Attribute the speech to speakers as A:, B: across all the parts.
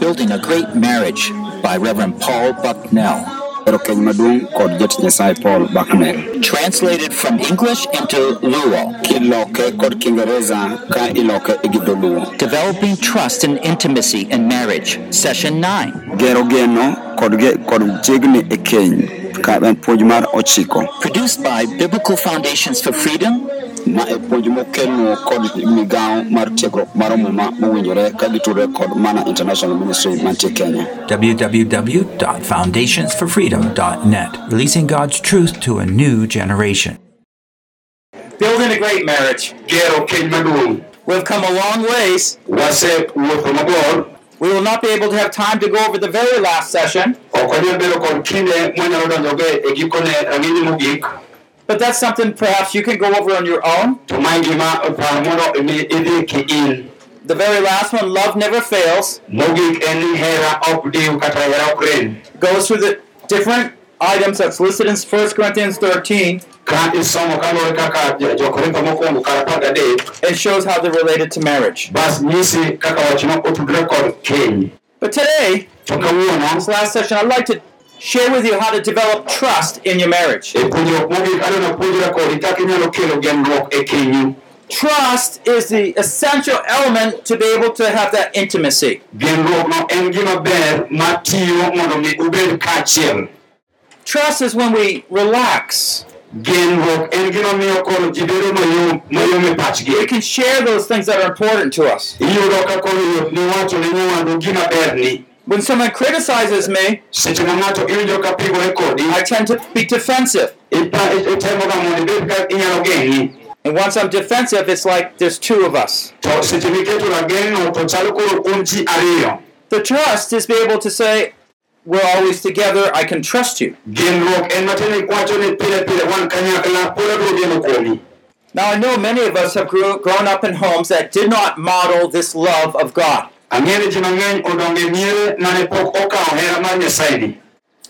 A: Building a Great Marriage by Reverend Paul Bucknell.
B: Ero keny maduong' kod jat Nyasaye Paul Bucknell.
A: Translated from English into Luo.
B: Kiloke kod Kiingereza ka iloke e gi dholuo.
A: Developing Trust and Intimacy in Marriage, Session 9.
B: Gero geno kod, ge, kod chiegni e keny ka en puonj mar ochiko
A: Produced by Biblical Foundations for Freedom
B: ma e puonj mokelno kod migawo mar tiegruok mar muma mowinjore ka gitudore kod mana international ministry mantie kenya
C: www.foundationsforfreedom.net, releasing God's truth to a new generation.
D: Building a great marriage.
E: Gero keny maduong'.
D: We've come a long ways.
E: Wasewuotho mabor.
D: We will not be able to have time to go over the very last session,
E: Ok wanyal bedo kod kinde mwanyalo donjogo e gikone rang'iny mogik.
D: but that's something perhaps you can go over on your own.
E: To mae gima opar mondo mi idhi ki in.
D: The very last one, love never fails,
E: Mogik en ni hera ok diw kata hera ok rem.
D: goes through the different items that's listed in 1 Corinthians 13
E: Ka isomo kaluwore kaka jo- jo-Korintho mokwongo kar apar gadek,
D: and shows how they're related to marriage.
E: bas nyisi kaka wachno otudore kod keny.
D: But today,
E: To kawuono,
D: this last session, I'd like to share with you how to develop trust in your marriage.
E: e puonjruok mogik adwano puonjra kodi kaka inyalo kelo genruok e kenyu.
D: Trust is the essential element to be able to have that intimacy.
E: Genruokno en gima ber matiyo mondo mi ubed kaachiel.
D: Trust is when we relax.
E: Genruok en gima miyo koro ji bedo mayom mayom e
D: We
E: pachgi.
D: can share those things that are important to us.
E: Iyudo ka koro yot ni wacho ne nyawadu gima berni.
D: When someone criticizes me,
E: Seche ma ng'ato iwinjo ka pigore kodi,
D: I tend to be defensive.
E: ipa- itemo ga mondo ibed ka inyalo geng'i.
D: And once I'm defensive, it's like there's two of us.
E: To seche miketo rageng'no to chalo koro kuom ji ariyo.
D: The trust is be able to say, we're always together, I can trust you.
E: Genruok en matiende ni wacho ni pile pile wan kanyakla pod abiro geno kuomi.
D: Now, I know many of us have grew, grown up in homes that did not model this love of God.
E: Ang'e ni ji mang'eny odongo e miere mane pok okawo hera mar Nyasaye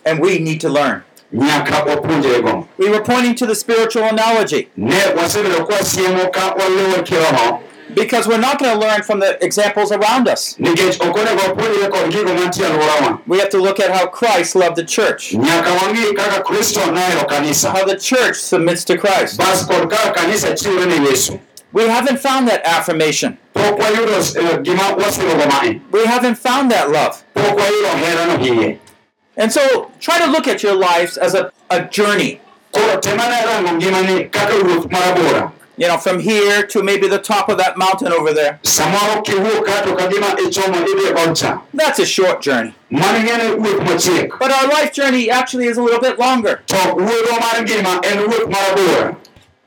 D: And we need to learn.
E: nyaka wapuonjrego.
D: We were pointing to the spiritual analogy
E: Ne wasebedo ka wasiemo ka waluwo kiroho
D: because we're not going to learn from the examples around us.
E: nikech ok onego wapuonjre kod gigo mantie e alworawa
D: We have to look at how Christ loved the church,
E: nyaka wang'i kaka kristo nohero kanisa
D: how the church submits to Christ.
E: bas kod kaka kanisa chiwre ne yesu
D: We haven't found that affirmation.
E: pok wayudo eh, gima wasirogo mae
D: We haven't found that love.
E: pok wayudo herano hiye
D: And so try to look at your lives as a, a journey.
E: koro temane rango ngimani kaka wuoth marabora
D: You know, from here to maybe the top of that mountain over there.
E: samoro kiwuok ka to kagima ichomo idhi godcha
D: That's a short journey.
E: mano ng'ene wuoth machiek
D: But our life journey actually is a little bit longer.
E: to wuodho mar ngima en wuoth marabora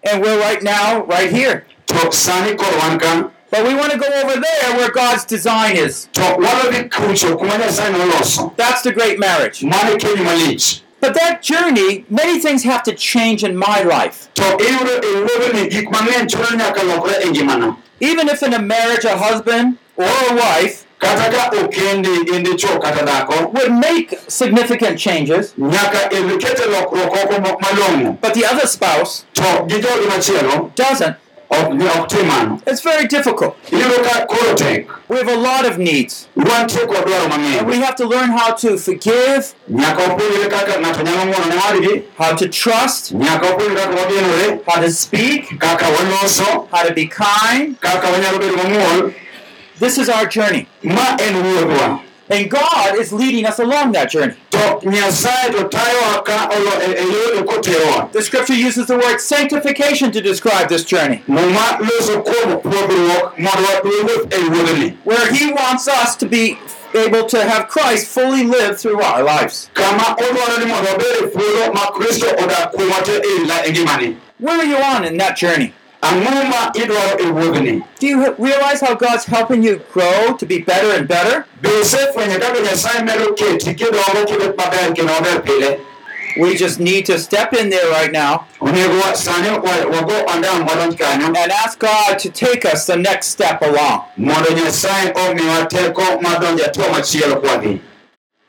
D: And we're right now, right here.
E: to sani koro wan ka
D: But we want to go over there where God's design is.
E: to wadodhi kucho kuma nyasaye noloso
D: That's the great marriage.
E: mano e keny malich
D: But that journey, many things have to change in my life.
E: to iyudo e wuodhoni gik mang'eny chuno ni nyaka lokre e ngimana
D: Even if in a marriage, a husband or a wife
E: kata ka okendi in dichuo kata dhako
D: would make significant changes,
E: nyaka ikete lokruok oko mo- malong'o
D: but the other spouse
E: to gi jogi machielo
D: doesn't,
E: ok ok tim mano
D: it's very difficult.
E: iyudo ka koro tek
D: We have a lot of needs.
E: wantie kod dwaro
D: We
E: mang'eny
D: have to learn how to forgive,
E: nyaka wapuonjre kaka ng'ato nyalo ng'uono ne wadgi
D: how to trust,
E: nyaka wapuonjre kaka wagenore
D: how to speak,
E: kaka waloso
D: how to be kind.
E: kaka wanyalo bedo mang'uol
D: This is our journey.
E: ma en wuodhwa
D: And God is leading us along that journey.
E: to nyasaye to tayowa ka olo- e- e yono koterowa
D: The scripture uses the word sanctification to describe this journey,
E: muma loso kuom pwodhruok mondo wapuonjruoth e wuodhni
D: where He wants us to be able to have Christ fully live through our lives.
E: kama odwaro ni mondo wabed e thuolo ma kristo odak kuomwa te e la- e ngimani
D: Where are you on in that journey?
E: ang'o ma idwaro e wuodhni
D: Do you h- realize how God's helping you grow to be better and better?
E: be isefwenyo kaka nyasaye medo keti kidongo kibet maber kendo maber pile
D: We just need to step in there right now
E: onego wa- sani e wa- wago ondam wadonj kanyo
D: and ask God to take us the next step along.
E: mondo nyasaye omiwa teko mar donjo e hatua machielo kwadhi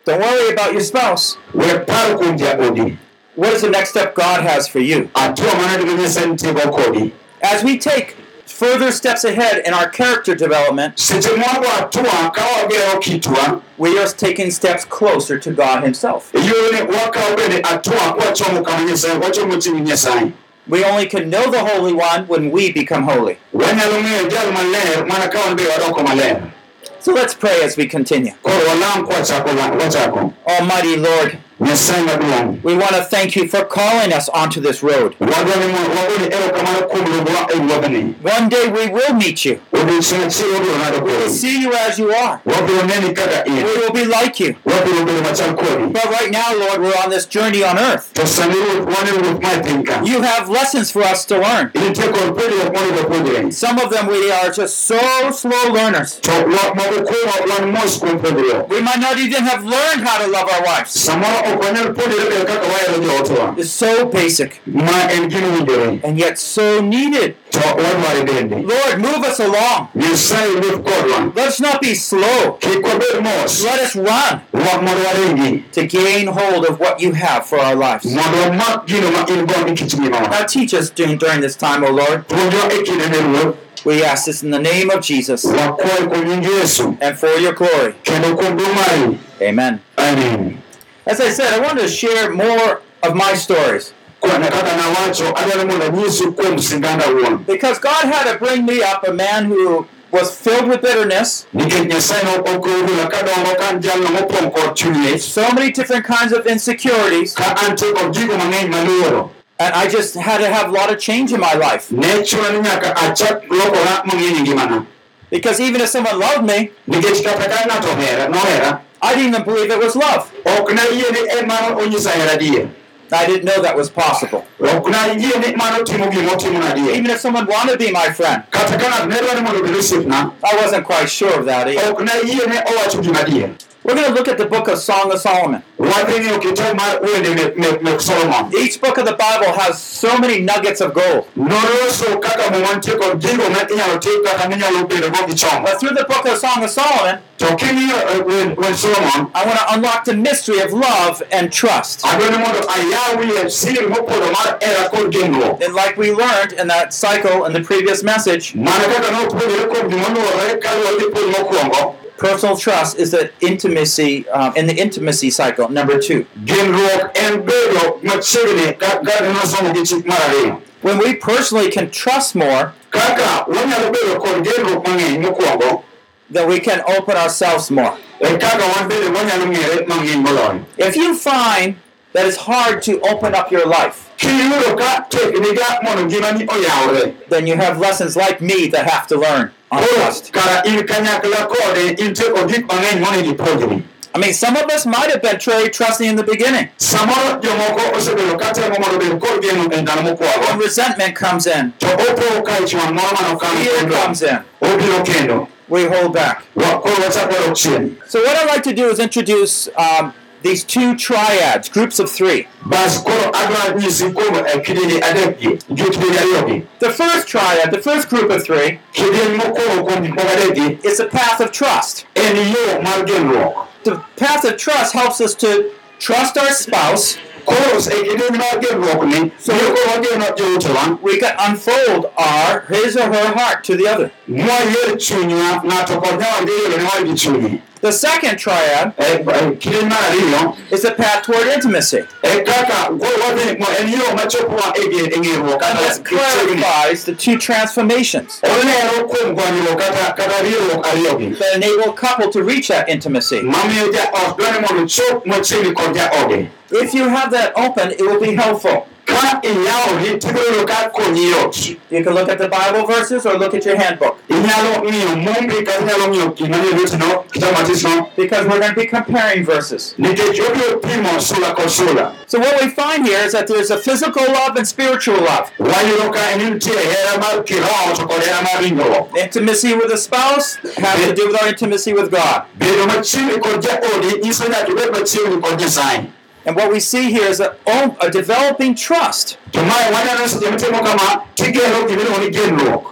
D: Don't worry about your spouse.
E: we paro kuom jaodi
D: What is the next step God has for you?
E: hatua mane duto nyasaye nitiego kodi
D: As we take further steps ahead in our character development,
E: seche moko atua ka wagero kitwa
D: we are taking steps closer to God Himself.
E: yoni wakawo bende atua kwachomo kama nyasaye wachomo ting nyasaye
D: We only can know the Holy One when we become holy.
E: wanyalo ng'eyo jal maler mana ka wan be wadoko maler
D: So let's pray as we continue.
E: koro walam kwachako wachako
D: Almighty Lord,
E: nyasaye maduong'
D: we want to thank you for calling us onto this road.
E: wadwa ni mondo wagone erokamano kuom lumbwa e wuodhni
D: One day we will meet you.
E: odiechieng' achiel wabiro ng'ado
D: We'll
E: kodi
D: see you as you are.
E: wabiro neni kaka
D: We
E: in
D: will be like you.
E: wabiro bedo machal kodi
D: But right now, Lord, we're on this journey on earth.
E: to sani ruoth wan e ruoth ma e piny ka
D: You have lessons for us to learn.
E: nitie kod puonjruok monego puonjre
D: Some of them we are just so slow learners.
E: to wa- moko kuomwa wan mos kuom puonjruok
D: We might not even have learned how to love our wives.
E: samoro ok wanyal puonjore bedo kaka wahero jootwa
D: It's so basic
E: ma en gima winjore
D: and yet so needed.
E: to wadware bende
D: Lord, move us along.
E: nyasaye wuoth kodwa
D: Let's not be slow.
E: kik wabed mos
D: Let us run
E: wa- mondo waringi
D: to gain hold of what you have for our lives.
E: mondo wamak gino ma in go ni kit
D: Now
E: ngimawa
D: teach us during, during this time, O Lord.
E: puonjwa e kindene ruoth
D: We ask this in the name of Jesus
E: wakwaye kuom nying yesu
D: and for your glory.
E: kendo kuom duong' mari
D: Amen.
E: amen
D: As I said, I wanted to share more of my stories
E: kwana kaka nawacho adwaro mondo anyisu kuom singanda wuon
D: because God had to bring me up a man who was filled with bitterness,
E: nikech nyasaye nokokorula kadongo ka an jalno mopong' kod chuny lich
D: so many different kinds of insecurities,
E: ka antie kod gigo mang'eny maluoro
D: and I just had to have a lot of change in my life.
E: ne chuna ni nyaka achak lokora mang'eny e ngimana
D: Because even if someone loved me,
E: nikech kata ka ng'ato ohera nohera
D: I didn't even believe it was love.
E: ok nayie ni en mano onyiso hera adier
D: I didn't know that was possible.
E: ok nayie ni mano timo gimotimona adier
D: Even if someone wanted to be my friend,
E: kata ka ng'ato ne dwaro ni mondo obed osiepna
D: I wasn't quite sure of that either.
E: ok nayie ne owacho gima adier
D: We're going to look at the book of Song of Solomon.
E: wadhi ng'iyo kitabu mar wende mek- mek- mek solomon
D: Each book of the Bible has so many nuggets of gold.
E: noloso kaka muma nitie kod gigo ma inyalo tim kata minyalo bedogo gi chongo
D: But through the book of Song of Solomon,
E: to king'iyo eh, wen- wend solomon
D: I want to unlock the mystery of love and trust.
E: adwa ni mondo ayawie siri mopondo mar hera kod genruok
D: And like we learned in that cycle in the previous message,
E: mana e kaka nopuonjore kuom gimoluwore kaluwore gi puonj mokwongo
D: personal trust is the intimacy um, in the intimacy cycle number two.
E: genruok en bedo machiegni ka- kaka nosomo gi chik mar ariyo
D: When we personally can trust more,
E: kaka wanyalo bedo kod genruok mang'eny mokwongo
D: then we can open ourselves more.
E: e kaka wan bende wanyalo ng'ere mang'eny moloyo
D: If you find that it's hard to open up your life,
E: kiyudo ka tekniga mondo ngimani oyawre
D: then you have lessons like me that have to learn on
E: Koro
D: trust.
E: kara in kanyakla kode intie kod gik mang'eny monego ipuonjri
D: I mean, some of us might have been very trusting in the beginning,
E: samoro jomoko osebedo ka temo mondo obed kod geno e ndalo
D: and
E: mokwongo
D: resentment comes in,
E: to opo ka ich wang' moro manokano
D: fear comes in,
E: obiro kendo
D: we hold back.
E: Wa- koro wachak wadok chien
D: So, what I'd like to do is introduce um, these two triads, groups of three.
E: bas koro adwa nyisi kuom eh, kidienje adekgi gi kidienje ariyogi
D: The first triad, the first group of three,
E: kidieny mokwongo kuom gik moko adekgi
D: is the path of trust.
E: en yo mar genruok
D: The path of trust helps us to trust our spouse.
E: koro e kidieny mar genruokni miyo koro wageno jootewa
D: We can unfold our his or her heart to the other.
E: mwayier chunywa ng'ato kod nyawadgi yorene wargi chunyi
D: The second triad
E: E- e- kidieny mar ariyo
D: is the path toward intimacy.
E: e kaka koro wadhi mo en yo machopowa e gir- e ng'eruok
D: And
E: kata
D: this
E: chiegni
D: clarifies the two transformations
E: olero kuom gwanyruok kata kata riwruok ariyogi
D: that enable a couple to reach that intimacy.
E: mamiyo jaot dwani mondo chop machiegni kod jaode
D: If you have that open, it will be helpful.
E: ka iyawori tibiro ka konyi yot
D: You can look at the Bible verses or look at your handbook
E: inyalo ng'iyo mumbi kata inyalo ng'iyo gimanie lwetino kitabu matisno
D: because we're going to be comparing verses.
E: nikech obiro pimo sula kod sula
D: So, what we find here is that there's a physical love and spiritual love.
E: wayudo ka en nitie hera mar kiroho to kod hera mar ringruok
D: Intimacy with a spouse has to do with our intimacy with God.
E: bedo machiegni kod jaodi nyiso nyaka ibed machiegni kod nyasaye
D: And what we see here is a, oh, a developing trust.
E: to mae waneno seche mitimo kama tigero gimiluongo ni genruok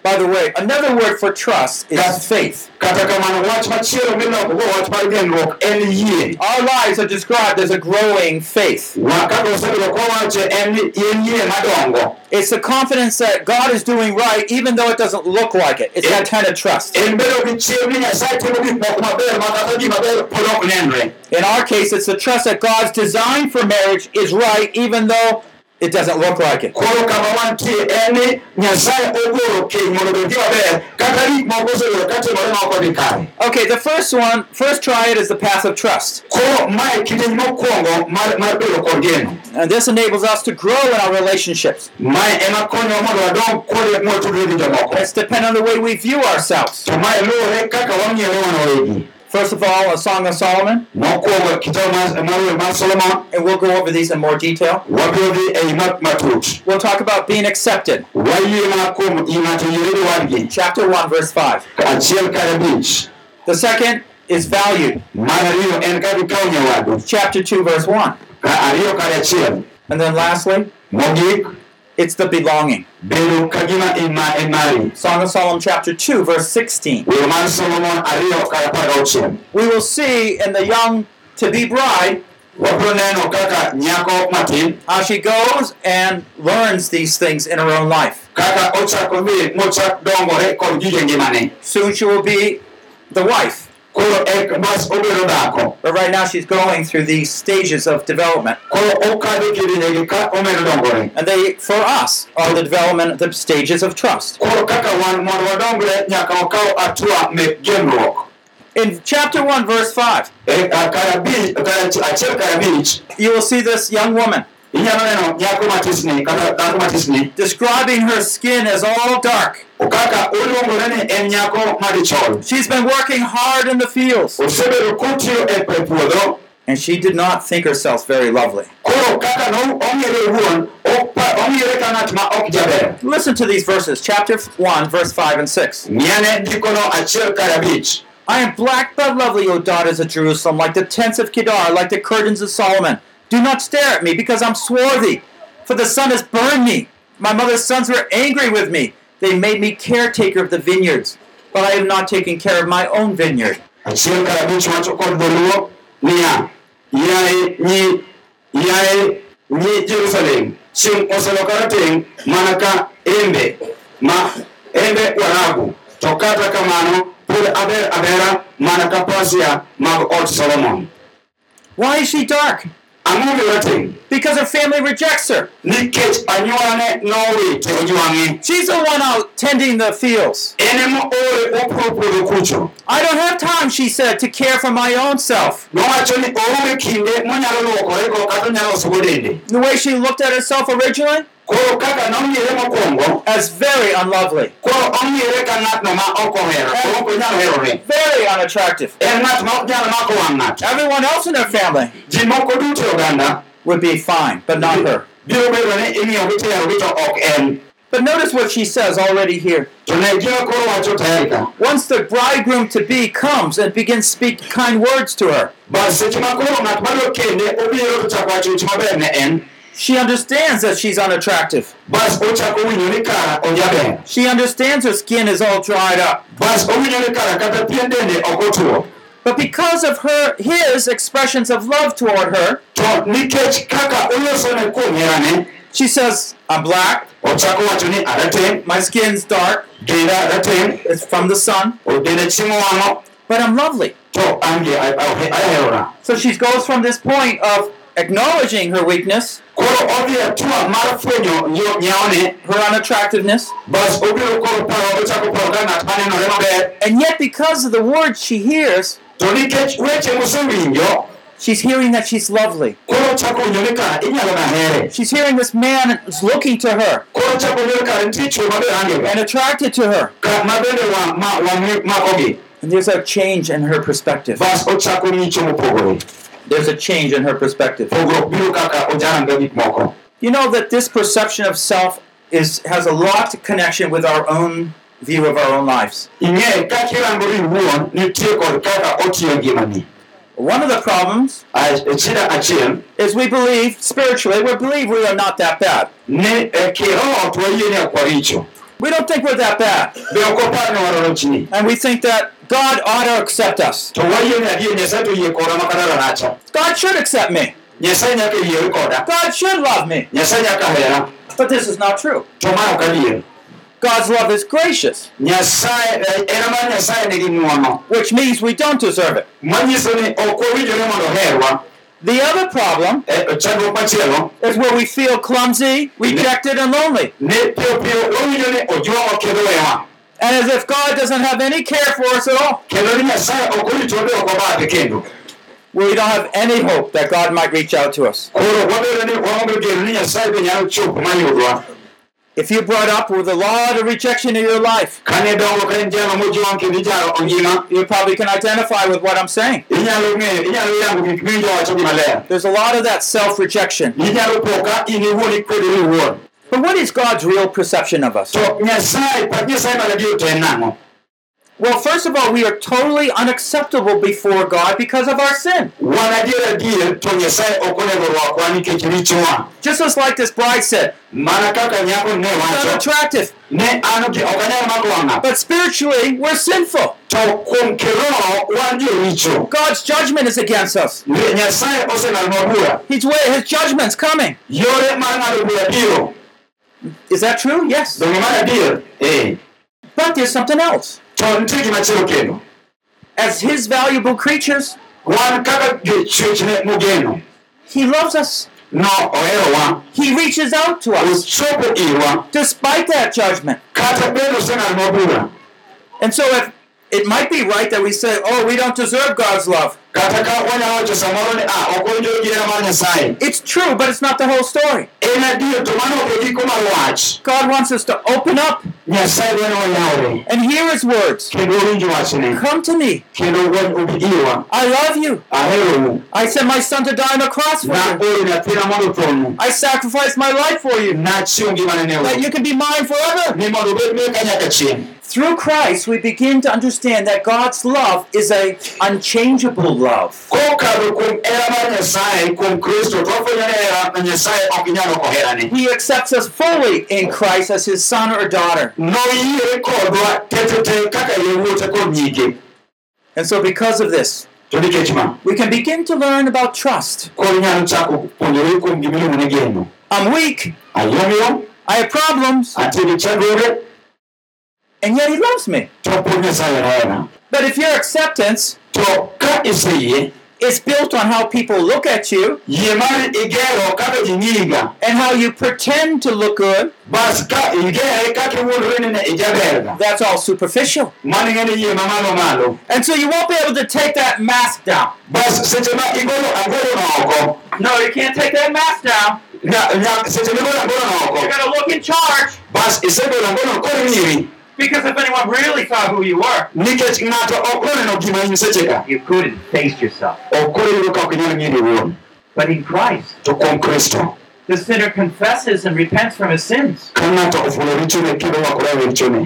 D: By the way, another word for trust is
E: Yes.
D: faith.
E: kata kamano wach machielo miloko go wach mar genruok en yie
D: Our lives are described as a growing faith.
E: Wa- kaka osebedo kowache en ni en yie madongo
D: It's the confidence that God is doing right, even though it doesn't look like it. It's
E: Yeah.
D: that kind of trust.
E: en bedo gi chir ni nyasaye timo gik moko maber ma kata gimaber pod ok nenre
D: In our case, it's the trust that God's design for marriage is right, even though it doesn't look like it.
E: koro kama wantie en ni nyasaye ogoro keny mondo obed gimaber kata gik moko osebedo katimore ma ok odhi kare
D: Okay, the first one, first try it is the path of trust.
E: koro mae kidieny mokwongo mar, mar bedo kod geno
D: And this enables us to grow in our relationships.
E: mae ema konyowa mondo wadong kuonde mwatudore gi jomoko
D: It's dependent on the way we view ourselves.
E: to mae luwore kaka wang'iyo wan wawegi
D: First of all, a Song of Solomon,
E: mokwongo kitabu mar- mar wer mar solomon
D: and we'll go over these in more detail.
E: wabiro dhi ei mat matut
D: We'll talk about being accepted,
E: wayie mana kuom i ng'ato yiere gi wadgi
D: chapter 1, verse 5.
E: achiel kar abich
D: The second is valued,
E: mar ariyo en ka gikawo nyawadu
D: chapter 2, verse 1.
E: ka ariyo kar achiel
D: And then lastly,
E: mogik
D: it's the belonging.
E: bedo ka gima in ma en mari
D: Song of Solomon, chapter 2, verse 16.
E: wer mar solomon ariyo kar apar gauchiel
D: we will see in the young to be bride
E: wabiro neno kaka nyako matin
D: how she goes and learns these things in her own life.
E: kaka ochako dhi mochak dongore kod gige ngimane
D: Soon she will be the wife,
E: koro ek mas obedo dhako
D: but right now she's going through these stages of development.
E: koro okadho kidienjegi ka omedo dongore
D: And they, for us, are the development, the stages of trust.
E: koro kaka wan mondo wadongre nyaka wakaw atua mek genruok
D: In chapter 1, verse 5,
E: E, a- kar abi- kar ach- achiel kar abich
D: you will see this young woman
E: inyalo neno nyako matisni kata dhako matisni
D: describing her skin as all dark.
E: kaka oluongore ni en nyako madichol
D: She's been working hard in the fields,
E: osebedo kotiyo e e puodho
D: and she did not think herself very lovely.
E: koro kaka no- ong'ere wuon ong'ere ka ng'at ma ok jaber
D: Listen to these verses, chapter 1, verse 5 and 6.
E: ng'iane ndikono achiel kar abich
D: I am black but lovely, O daughters of Jerusalem, like the tents of Kedar, like the curtains of Solomon. Do not stare at me, because I'm swarthy, for the sun has burned me. My mother's sons were angry with me. They made me caretaker of the vineyards, but I am not taking care of my own vineyard.
E: achiel kar abich wacho kod dholuo niya yaye nyi yaye nyi jerusalem chiengʼ oseloka rateng' mana ka embe ma embe warabu to kata kamano pod aber abera mana ka pasia mag ot solomon
D: Why is she dark?
E: ang'o gi rateng'
D: Because her family rejects her.
E: nikech anywolane nowito ojwang'e
D: She's the one out tending the fields.
E: en ema oore opuro puodho kucho
D: I don't have time, she said, to care for my own self.
E: nowacho ni oonge kinde monyalo luokorego kata onyalo losogo dende
D: The way she looked at herself originally,
E: koro kaka nong'ire mokwongo
D: as very unlovely,
E: koro ong'ere ka ng'atno ma ok ohero koro ok onyal herore
D: very unattractive.
E: en ng'at ma ok nyal mako wang' ng'ato
D: Everyone else in her family
E: ji moko duto e oganda
D: would be fine, but not her.
E: biro bedo ni ing'iyogi to herogi to ok en
D: But notice what she says already here.
E: to ne gima koro wacho tayari ka
D: Once the bridegroom to be comes and begins to speak kind words to her,
E: bas seche ma koro ng'at ma dwa kende obiro to chako wacho weche maber ne en
D: she understands that she's unattractive.
E: bas ochako winjo ni kara ojaber
D: She understands her skin is all dried up.
E: bas owinjo ni kara kata pien dende ok otuo
D: But because of her his expressions of love toward her,
E: to nikech kaka olosone kuom herane
D: she says, I'm black,
E: ochako wacho ni arateng'
D: my skin's dark,
E: denda arateng'
D: it's from the sun,
E: denda chiemo wang'o
D: but I'm lovely.
E: to an gi aherora
D: So she goes from this point of acknowledging her weakness,
E: koro odhi atua mar fwenyo nyo- nyawne
D: her unattractiveness,
E: bas obiro koro paro ochako paro ka ng'at manenore maber
D: and yet because of the words she hears,
E: to nikech weche mosewinjo
D: She's hearing that she's lovely.
E: koro ochako winjo ni kara inyalo nahere
D: She's hearing this man is looking to her
E: koro ochako winjo ni kara nitie chwe maber angego
D: and attracted to her.
E: ka- ma bende wa- ma- wang'e makogi
D: And there's a change in her perspective.
E: bas ochako ng'icho mopogore
D: There's a change in her perspective.
E: pogruok biro kaka ojaranga gik moko
D: You know that this perception of self is has a lot of connection with our own view of our own lives.
E: ing'e kaka irangori iwuon nitie kod kaka otiyo ngimani
D: One of the problems
E: A- shida achiel
D: is we believe spiritually, we believe we are not that bad.
E: ni e kiroho to wayie ni ok waricho
D: We don't think we're that bad.
E: be okopar ni waroro chini
D: And we think that God ought to accept us.
E: to wayie ni adier nyasaye to yie koda makata ranacha
D: God should accept me.
E: nyasaye nyaka yier koda
D: God should love me.
E: nyasaye nyaka hera
D: But this is not true.
E: to ma ok adier
D: God's love is gracious,
E: nyasaye eh, hera mar nyasaye nigi ng'wono
D: which means we don't deserve it.
E: manyiso ni ok wawinjore mondo oherwa
D: The other problem
E: Eh, chandruok machielo
D: is where we feel clumsy, rejected, and lonely.
E: ni piyo piyo wawinjo ni ojwang'o kendo wewa
D: And as if God doesn't have any care for us at all.
E: kendo ni nyasaye ok orito ni ok obadhe kendo
D: We don't have any hope that God might reach out to us.
E: koro wabedo ni waonge geno ni nyasaye be nyalo chopo mayudwa
D: If you brought up with a lot of rejection in your life,
E: kane dongo ka en jalo mojwang' kendo ijaro ongima
D: you probably can identify with what I'm saying.
E: inyalo ng'eyo inyalo yango gik miwinjo wacho gi maler
D: There's a lot of that self rejection.
E: inyalo po ka in iwuon ikwedori iwuon
D: But what is God's real perception of us?
E: to nyasaye pach nyasaye malabiro to en nang'o
D: Well, first of all, we are totally unacceptable before God because of our sin.
E: wan adier adier to nyasaye ok onego rwakwa nikech richowa
D: Just as like this bride said,
E: mana kaka nyako ne
D: I'm
E: wacho
D: attractive,
E: ne an gi- ok anyal mako wang'a
D: but spiritually we're sinful.
E: to kuom kiroho wan joricho
D: God's judgment is against us.
E: Ni- nyasaye osenalonwa bura
D: He's wait, his judgment's coming.
E: yore mar ng'ado bura biro
D: Is that true? Yes.
E: donge mar adier ee
D: But there's something else.
E: to nitie gimachielo kendo
D: As his valuable creatures,
E: wan kaka jochwechne mogeno
D: he loves us.
E: no oherowa
D: He reaches out to us
E: ochopo irwa
D: despite that judgment.
E: kata bende osenalonwa bura
D: And so if it might be right that we say, oh, we don't deserve God's love.
E: kata ka wanyalo wacho samoro ni ah ok owinjore gi hera mar nyasaye
D: It's true, but it's not the whole story.
E: en adier to mano ok e giko mar wach
D: God wants us to open up
E: nyasaye dwani wayawre
D: and hear his words.
E: kendo owinj wachne
D: Come to me.
E: kendo wan obi irwa
D: I love you.
E: aherou
D: I sent my son to die on the cross for you.
E: naoro nyathina mondo thonu
D: I sacrificed my life for you.
E: nachiwo ngimane ne
D: That you
E: un
D: can be mine forever.
E: ni mondo obed meka nyaka chieng'
D: Through Christ, we begin to understand that God's love is a unchangeable love.
E: kokadho kuom hera mar nyasaye kuom kristo to wafwenyo ni hera ma nyasaye ok nyal oko herane
D: He accepts us fully in Christ as his son or daughter.
E: noyiere kodwa tetete kaka yewuote kod nyige
D: And so because of this,
E: to nikech ma
D: we can begin to learn about trust.
E: koro inyalo chako puonjore kuom gimiluongo ni geno
D: I'm weak.
E: ayomyom
D: I have problems.
E: atie gi chandruoge
D: And yet he loves me.
E: to pod nyasaye hera
D: But if your acceptance
E: to ka iseyie
D: is built on how people look at you
E: yie mari igero kaka ji ng'iga
D: and how you pretend to look good,
E: bas ka igere kaka iwuondore ni ne ijaberga
D: that's all superficial.
E: mano ing'e ni yie mamalo malo
D: And so you won't be able to take that mask down.
E: bas seche ma igolo angolono oko
D: No, you can't take that mask down.
E: nya- nya- seche migolo angolono
D: You're
E: oko
D: going to look in charge
E: bas isegolo angolono koro nyiri
D: because if anyone really saw who you were,
E: nikech ng'ato ok noneno gima in secheka
F: You couldn't face yourself.
E: ok koro iyudo ka ok inyal ng'iri wuon
F: But in Christ,
E: to kuom kristo
F: the sinner confesses and repents from his sins,
E: ka ng'ato ofulo richone kendo makore e richone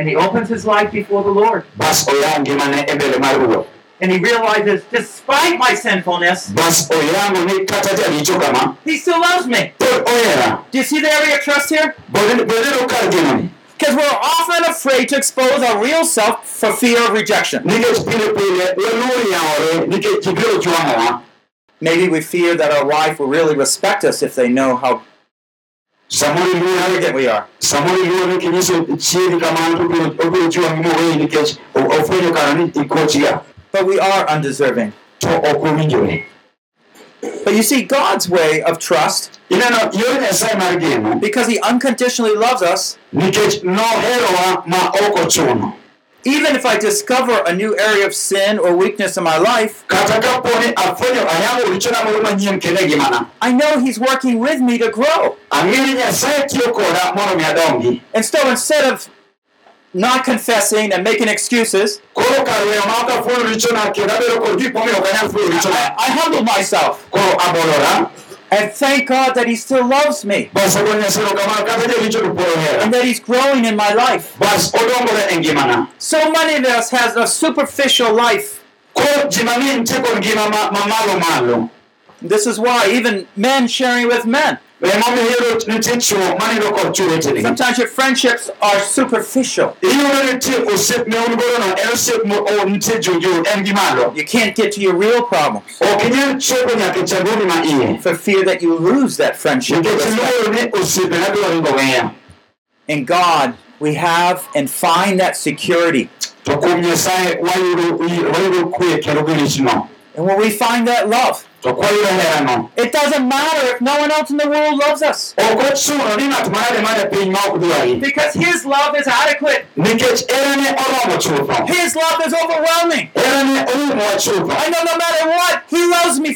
F: and he opens his life before the Lord,
E: bas oyawo ngimane e mbele mar ruoth
F: and he realizes, despite my sinfulness,
E: bas oyango ni kata jaricho kama
F: he still loves me.
E: pod ohera
D: do you see the area of trust here?
E: bedeno kar genoni
D: Because we're often afraid to expose our real self for fear of rejection.
E: nikech pile pile waluwo yawore nikech ji biro jwang'owa
D: Maybe we fear that our wife will really respect us if they know how
E: samoro
D: arrogant
E: iluoro
D: we are.
E: samoro iluoro ni kinyiso chiegi kamano to obiro- obiro jwang'i moweyi nikech o- ofwenyo kara ni ikochga
D: But we are undeserving.
E: to ok owinjore
D: But you see, God's way of trust,
E: ineno yor nyasaye mar geno
D: because He unconditionally loves us,
E: nikech noherowa ma ok ochuno
D: even if I discover a new area of sin or weakness in my life,
E: kata kaponi afwenyo ayango richona moro manyien kendo e ngimana
D: I know He's working with me to grow.
E: ang'e ni nyasaye tiyo koda mondo mi adongi
D: And so instead of not confessing and making excuses,
E: koro kar weyo ma ok afuyo richona kendo abedo kod gik momiyo ok anyal fuyo
D: I,
E: richona
D: I humble myself
E: koro abolora
D: and thank God that He still loves me
E: bas ago nyasaye kamano kata jaricho to pod
D: and
E: ohera
D: that He's growing in my life.
E: bas odongore e ngimana
D: So many of us has a superficial life.
E: koro ji mang'eny nitie kod ngima ma- mamalo malo
D: This is why even men sharing with men.
E: emomihero nitie chwo manindo kod chwo wetegi
D: Sometimes your friendships are superficial.
E: iyudo ni nitie osiep ne un godono en osiep ma o- nitie jojor en gi malo
D: You can't get to your real problems
E: ok inyal chopo nyaka e chagoni ma iye
D: for fear that you lose that friendship.
E: nikech iluoro ni osiepena dwaro ni goweya
D: In God, we have and find that security.
E: to kuom nyasaye wayudo wayudo kwe kendo gi richno
D: And when we find that love,
E: to kwayudo herano
D: it doesn't matter if no one else in the world loves us.
E: ok ochuno ni ng'at manade mane piny ma ok dwari
F: Because his love is adequate.
E: nikech herane oromo chutho
D: His love is overwhelming.
E: herane orumowa chutho
D: I know no matter what, He loves me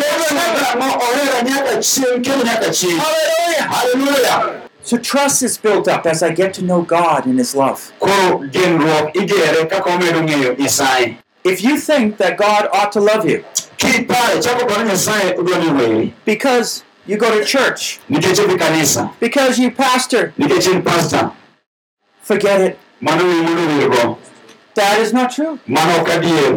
D: forever.
E: ma ohera nyaka chieng' kendo nyaka chieng'
D: oh, Hallelujah.
E: haleluya
D: So trust is built up as I get to know God and His love.
E: koro genruok igere kaka omedo ng'eyo nyasaye
D: If you think that God ought to love you
E: kipare chako kod nyasaye odwa ni weri
D: because you go to church,
E: nikech idhi kanisa
D: because you pastor,
E: nikech in pasta
D: forget it.
E: mano wimono wirgo
D: That is not true.
E: mano ok adier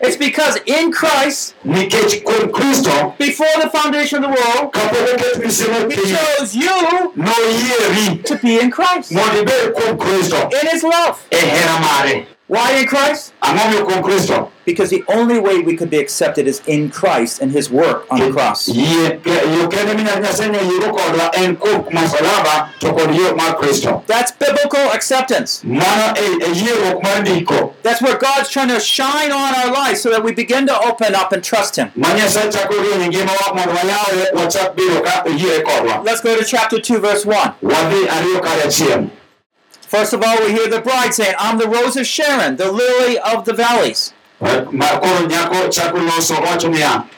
D: It's because in Christ,
E: nikech kuom kristo
D: before the foundation of the world,
E: kapok oket misemo
D: He
E: piny
D: chose you
E: noyieri
D: to be in Christ, in
E: mondo ibed kuom kristo
D: His love.
E: e hera mare
D: Why in Christ?
E: ang'o miyo kuom kristo
D: Because the only way we could be accepted is in Christ and His work on the cross.
E: yie yo kende minyal nyasaye nyayiego kodwa en kuom masalaba to kod yo mar kristo
D: That's biblical acceptance.
E: mano e e yieruok mar ndiko
D: That's where God's trying to shine on our lives so that we begin to open up and trust Him.
E: ma nyasaye chako rieny e ngimawa mondo wayawre wachak bedo ka oyiere kodwa
D: Let's go to chapter 2, verse 1.
E: wadhi ariyo kar achiel
D: First of all, we hear the bride saying, I'm the rose of Sharon, the lily of the valleys.
E: ma koro nyako chako loso wacho niya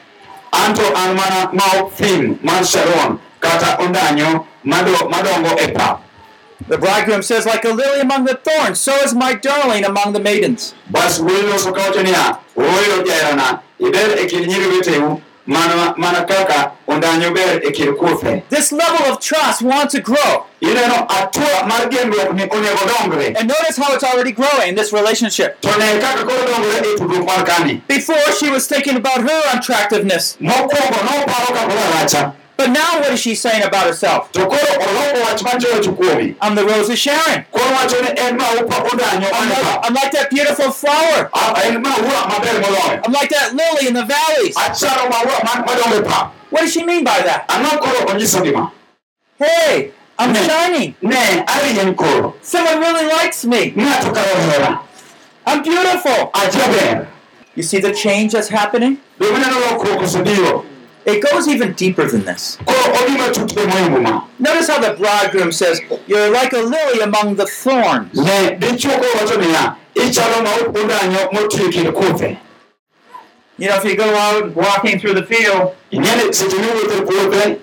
E: anto an mana maok thim mar sharon kata ondanyo mado- madongo e pap
D: The bridegroom says, Like a lily among the thorns, so is my darling among the maidens.
E: bas wuoyi loso ka wacho niya ooyo jaherana iber e kind nyiri weteu mana, mana kaka ondanyo ber e kind kuothe
D: This level of trust wants to grow.
E: ineno atua mar gemruok ni onego dongre
D: And notice how it's already growing in this relationship.
E: to ne kaka koro dongore e tudruok mar kani
D: Before she was thinking about her unattractiveness,
E: mokwongo noparo kapora racha
D: but now what is she saying about herself?
E: to koro oloko wach majocho kuomi
D: I'm the rose of Sharon.
E: koro wacho ni en maupa ondanyo
D: I'm
E: mane pap
D: like, I'm like that beautiful flower.
E: Ah, en maua maber moloyo
D: I'm like that lily in the valleys.
E: acharo maua ma- madongo e pap
D: What does she mean by that?
E: ang'o koro onyiso gima
D: Hey, I'm
E: Mm.
D: shining.
E: ne arieny koro
D: Someone really likes me.
E: ng'ato ka ohera
D: I'm beautiful.
E: ajaber
D: You see the change that's happening?
E: be mineno lokruok osebiro
D: It goes even deeper than this.
E: koro odhi matut e moingo ma
D: Notice how the bridegroom says, You're like a lily among the thorns.
E: ne dichuo koro wacho niya ichalo maup ondanyo motwi e kind kuthe
D: You know, if you go out,
F: Walking through the field,
E: ing'eni seche miwuotho e puothe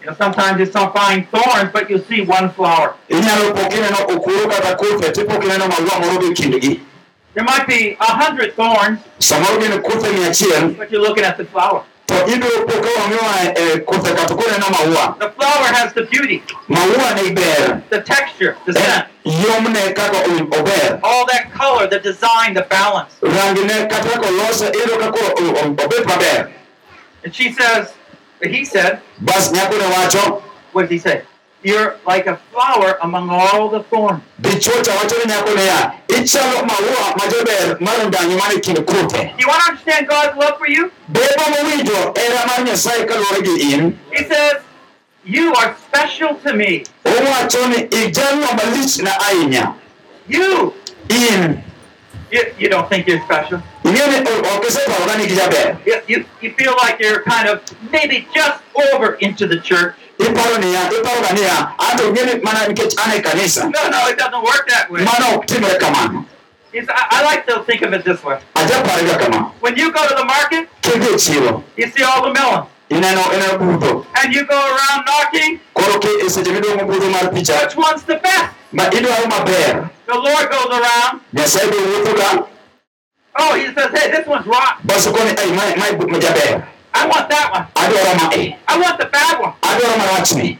F: you know, sometimes you don't find thorns, but you'll see one flower.
E: inyalo po kineno okuro kata kuthe tipo kineno maua moro be e kindgi
F: There might be a hundred thorns,
E: samoro gin kuthe mia achiel
F: but you're looking at the flower.
E: to ibiro po ka wang'iwa e kuthe kata koneno maua
F: The flower has the beauty,
E: maua ne ber
F: the texture, the
E: Eh,
F: scent,
E: yomne kaka o- ober
F: all that color, the design, the balance.
E: rangine kata kaka olose iyudo ka koro o- o- obet maber
F: And she says, he said,
E: bas nyako ne wacho
F: what did he say? You're like a flower among all the thorns.
E: dichuocha wacho ni nyako niya ichalo maua majaber mar ndanyo man e kind kuthe
F: Do you want to understand God's love for you?
E: bebo mowinjo era mar nyasaye kaluwore gi in
F: He says, You are special to me.
E: owacho ni ijalno malichna ahinya
F: You.
E: in
F: You, you don't think you're special.
E: ing'e ni o- ok iseparora ni gijaber
F: You, you, you feel like you're kind of maybe just over into the church.
E: iparo niya iparoga niya anto ing'e ni mana nikech an e kanisa
F: No, no, it doesn't work that way.
E: mano ok timre kamano
F: It's, I, I like to think of it this way.
E: ajaparega kamano
F: When you go to the market,
E: kidhi e chiro
F: you see all the melons.
E: ineno ineno budho
F: And you go around knocking,
E: koro ki e seche miduong'o budho mar picha
F: which one's the best?
E: ma idwaro maber
F: The Lord goes around.
E: nyasaye be wuotho ka
F: Oh, he says, hey, this one's rotten.
E: baso koni ai mae mae bu- ma jaber
F: I want that one.
E: adwaro mae
F: I want the bad one.
E: adwaro marachni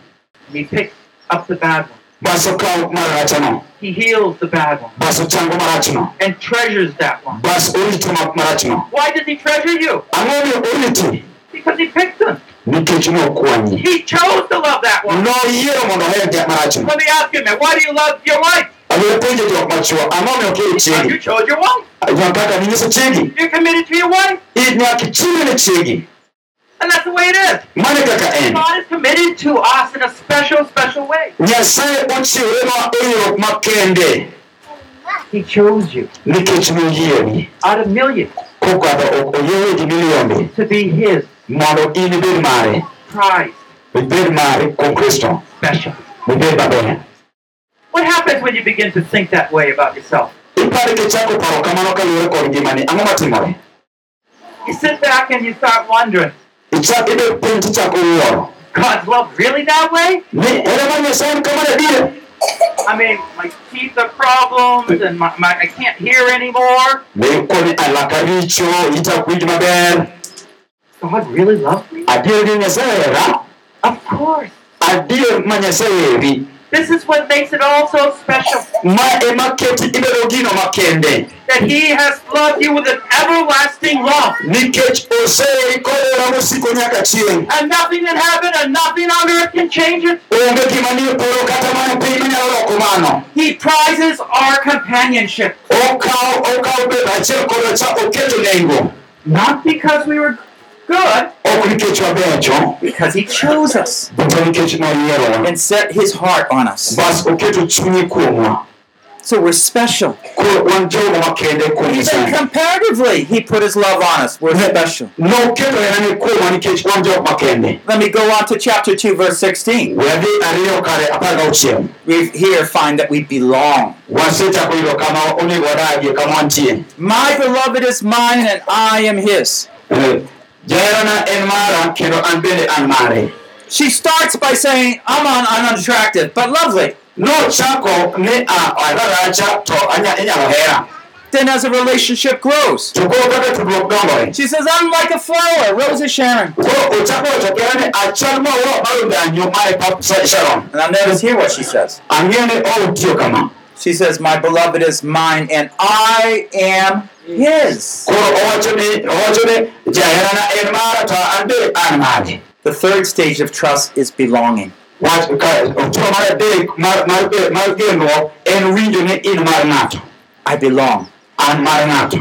F: He picks up the bad one.
E: baso kaw marachno
F: He heals the bad one
E: baso chango marachno
F: and treasures that one.
E: bas orito ma- marachno
F: Why does he treasure you?
E: ang'o miyo oriti
F: Because he picked them.
E: nikech nokwanyi
F: He chose to love that woman.
E: noyiero mondo oher gik marachno
F: Let me ask you, man, why do you love your wife?
E: abiro penjo jok machuo ang'o omiyo okeyo
F: Because you
E: chiegi
F: chose your wife.
E: kaka ninyiso chiegi
F: You're committed to your wife,
E: i- nyaka ichiwe ne chiegi
F: and that's the way it is.
E: mano e kaka en
F: God is committed to us in a special, special way.
E: nyasaye ochiwrenwa e yo makende
F: He chose you
E: nikech noyieri
F: out of millions
E: kokadho ok oyiewe gi milionde
F: to be His
E: mondo in ibed mare
F: prize.
E: ibed mare kuom kristo
F: Special.
E: ibed maber
F: What happens when you begin to think that way about yourself?
E: ipare kichako paro kamano kaluwore kod ngimani ang'o matimore
F: You sit back and you start wondering,
E: ichak ibed piny tichako wuoro
F: God's love really that way?
E: ni ere mar nyasaye en kamano adier
F: I mean, my teeth are problems, and my, my, I can't hear anymore.
E: be koni alaka richo ichak winj maber
F: God really loves me?
E: adier ni nyasaye hera
F: Of course.
E: adier ma nyasaye heri
F: This is what makes it all so special.
E: ma ema keti ibedo gino makende
F: That He has loved you with an everlasting love.
E: nikech oseri kolera mosiko nyaka chieng'
F: And nothing in heaven and nothing on earth can change it.
E: onge gima nie polo kata mano piny manyalo loko mano
F: He prizes our companionship.
E: okawo okawo bedo achiel koda cha oketo nengo
F: Not because we were good,
E: ok nikech wabecho
D: because he chose us
E: but nikech noyierowa
D: and set his heart on us.
E: bas oketo chunye kuomwa
D: So we're special.
E: koro wan jogo makende kuom
D: Even
E: nyasaye
D: comparatively, he put his love on us. We're special.
E: noketo herane kuomwa nikech wan jogo makende
D: Let me go on to chapter 2, verse 16.
E: wadhi ariyo kare apar gauchiel
D: We here find that we belong.
E: wasechako yudo kama onego wadagie kama wantie
D: My beloved is mine and I am his.
E: Eh, jaherana en mara kendo an bende an mare
D: She starts by saying, I'm un- unattractive, but lovely.
E: nochako ni "Ah, araracha to anya- inyalo hera
D: Then as a relationship grows,
E: to koro kaka tudruok dongore
D: she says, I'm like a flower, Rose is Sharon.
E: koro ochako wacho kera ni achal maua marundanyo mae pap Sa- sharon
D: And I'll notice here what she says.
E: ang'e ni outiyo oh, kama
D: She says, My beloved is mine and I am his.
E: koro oh, owacho ni owacho ni jaherana en mara to an bende an mare
D: The third stage of trust is belonging.
E: Wach- ka- otiko mar adek mar- mar ge- mar genruok en winjo ni in mar ng'ato
D: I belong.
E: an mar ng'ato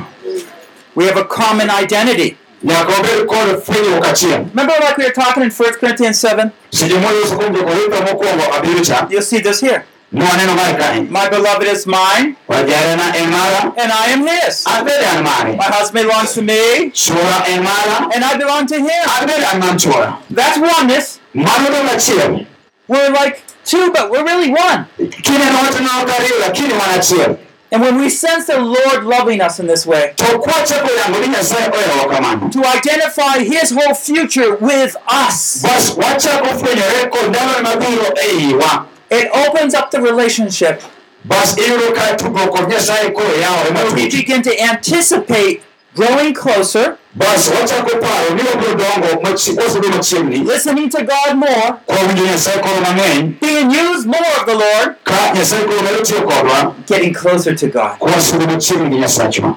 D: We have a common identity.
E: nyaka wabed kod fwenyruok achiel
D: Remember, like we were talking in 1 Corinthians 7?
E: seche molos kuom jokorintho mokwongo abiro cha
D: You'll see this here.
E: nwaneno mar kae
D: My beloved is mine,
E: wajarena en mara
D: and I am his.
E: an bende an mare
D: My husband belongs to me,
E: chwora en mara
D: and I belong to him.
E: an bende an mar chwora
D: That's oneness.
E: mano dong' achiel
D: We're like two, but we're really one.
E: kineno watenono kariyo lakini wan achiel
D: And when we sense the Lord loving us in this way,
E: to kwachako yango ni nyasaye oherowa kamano
D: to identify his whole future with us,
E: bas wachako fwenyore kod ndalone mabiro e iwa
D: it opens up the relationship.
E: bas iyudo ka tudruok kod nyasaye koro yawore
D: We
E: matut
D: begin to anticipate growing closer,
E: bas wachako paro ni wabiro dongo machi- wasebedo machiegni
D: listening to God more,
E: kwa winjo nyasaye koro mang'eny
D: being used more of the Lord,
E: ka nyasaye koro medo tiyo kodwa
D: getting closer to God.
E: kwasudo machiegni gi nyasachwa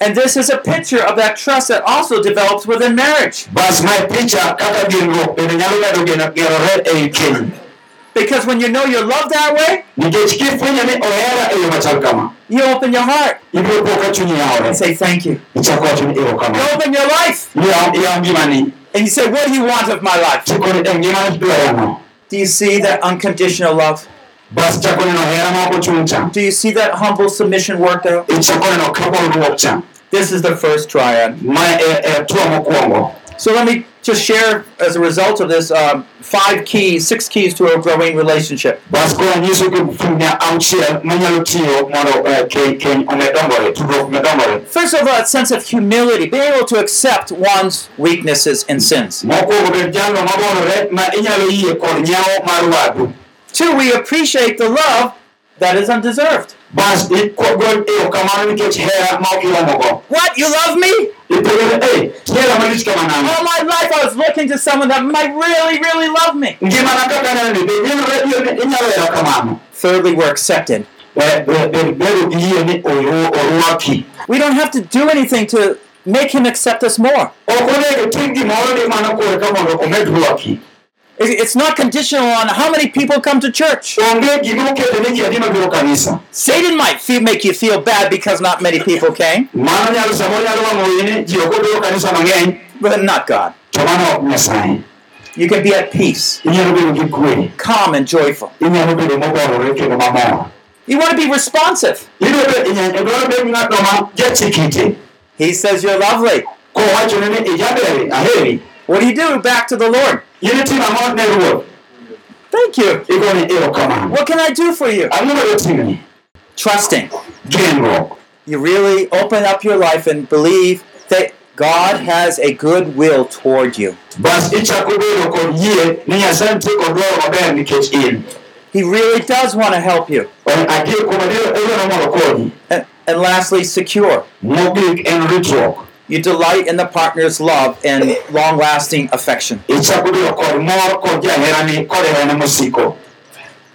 D: And this is a picture of that trust that also develops within marriage.
E: bas mae picha kaka genruok bende nyalo medo geno- gerore ei keny
D: Because when you know you're loved that way,
E: nikech kifwenyo ni ohera e yo machal kama
D: you open your heart
E: ibiro po ka chunyi
D: and
E: yawore
D: say, Thank you.
E: ichako wacho ni
D: You
E: erokamano
D: open your life
E: iyawo ngimani
D: and you say, What do you want of my life?
E: tikoni e ngimani dwarano
D: Do you see that unconditional love?
E: bas chako neno hera ma ok ochung' cha
D: Do you see that humble submission worked out?
E: ichako neno kabolruok cha
D: This is the first triad.
E: mae e- e tuo mokwongo
D: So let me just share, as a result of this, um, five keys, six keys to a growing relationship.
E: bas koro nyiso kifunia auchiel manyalo tiyo mondo eh, keny keny omed dongore tudruok omed dongore
D: First of all, that sense of humility, being able to accept one's weaknesses and sins.
E: mokwongo bed jalno mabolore ma inyalo yie kod nyawo mar wadu
D: Two, we appreciate the love that is undeserved.
E: bas igol erokamano e nikech hera ma ok iromogo
D: What? You love me?
E: ipogore e hera malich
D: All
E: kamanano
D: my life I was looking to someone that might really, really love me.
E: ngimana kaka nanoni be nenore yie ni inyalo hera kamano
D: Thirdly, we're accepted.
E: Eh, be- be- bedo gi yie ni oru- orwaki
D: We don't have to do anything to make him accept us more.
E: Ok onego tim gimoro ni mano koreka mondo omed rwaki.
D: It- It's not conditional on how many people come to church.
E: Onge gima oketo ni ji adi mabiro kanisa.
D: Satan might feel, make you feel bad because not many people came,
E: Mano nyalo samoro nyalo wang'o iyi ni ji ok obiro kanisa mang'eny
D: but not God.
E: to mano ok Nyasaye.
D: You can be at peace,
E: Inyalo bedo gi kwe,
D: calm, and joyful.
E: inyalo bedo mogorore kendo mamor.
D: You want to be responsive.
E: Ibiro bedo inyalo e dwaro bedo ng'atno ma jachik ite.
D: He says you're lovely.
E: Kowachone ni ijaber aheri.
D: What do you do? Back to the Lord.
E: In itimo ang'o ne ruoth?
D: Thank you.
E: Igone erokamano.
D: What can I do for you?
E: Ang'o madotimni?
D: Trusting.
E: Genruok.
D: You really open up your life and believe that God has a good will toward you.
E: Bas ichako bedo kod yie ni Nyasaye nitie kod dwaro maber nikech in.
D: He really does want to help you.
E: En adier kuom adier odwaro mondo konyi.
D: And, and lastly, secure.
E: Mogik en ritruok.
D: You delight in the partner's love and long lasting affection.
E: Ichako bedo kod mor kod jaherani kod herane mosiko.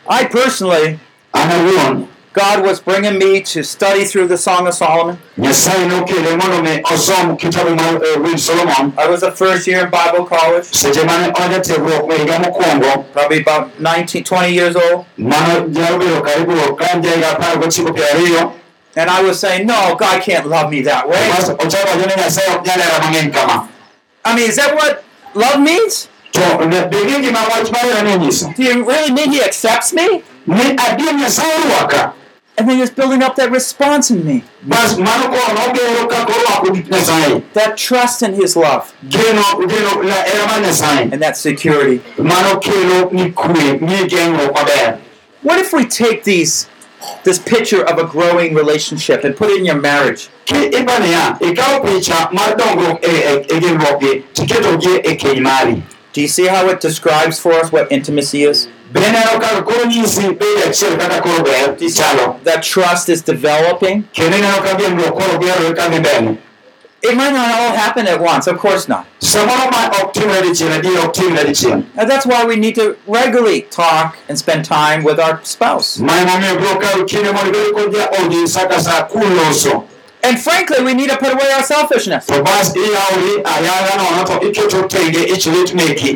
D: I personally,
E: An awuon,
D: God was bringing me to study through the Song of Solomon.
E: Nyasaye nokele mondo mi osom kitabu mar eh, Winy Solomon
D: I was a first year in Bible college,
E: seche mane oja tiegruok e higa mokwongo
D: probably about 19, 20 years old.
E: mano nyalo bedo karibu ka an jahiga apar gochiko piero ariyo
D: And I was saying, no, God can't love me that way.
E: bas ochako wacho ni Nyasaye ok nyal hera mang'eny kama
D: I mean, is that what love means?
E: to ne- be gi gima wach mar herane onyiso
D: Do you really mean He accepts me?
E: ni adier Nyasaye orwaka
D: And then it's building up that response in me,
E: bas mano koro nogero kaka orwako gik Nyasaye
D: that trust in His love,
E: geno geno la hera mar Nyasaye
D: and that security.
E: mano kelo ni kwe ni geng'ruok maber
D: What if we take these this picture of a growing relationship and put it in your marriage?
E: ki ibaniya ikawo picha mar dongruok e, e, e genruokgi tiketogi e keny mari
D: Do you see how it describes for us what intimacy is?
E: beneno kaka koro nyisi bedi achiel kaka koro ber ichalo
D: That trust is developing.
E: kendo ineno ka genruok koro gerore ka dhi mbele
D: It might not all happen at once, of course not.
E: samoro ma ok timre dichiel adier ok timre dichiel
D: And that's why we need to regularly talk and spend time with our spouse.
E: ma emomiyo biro kawo kinde mondo ibed kod jaodi sa ka sa kuloso
D: And frankly, we need to put away our selfishness.
E: to bas iyawori ayanga nono to iketo tenge ichilit meki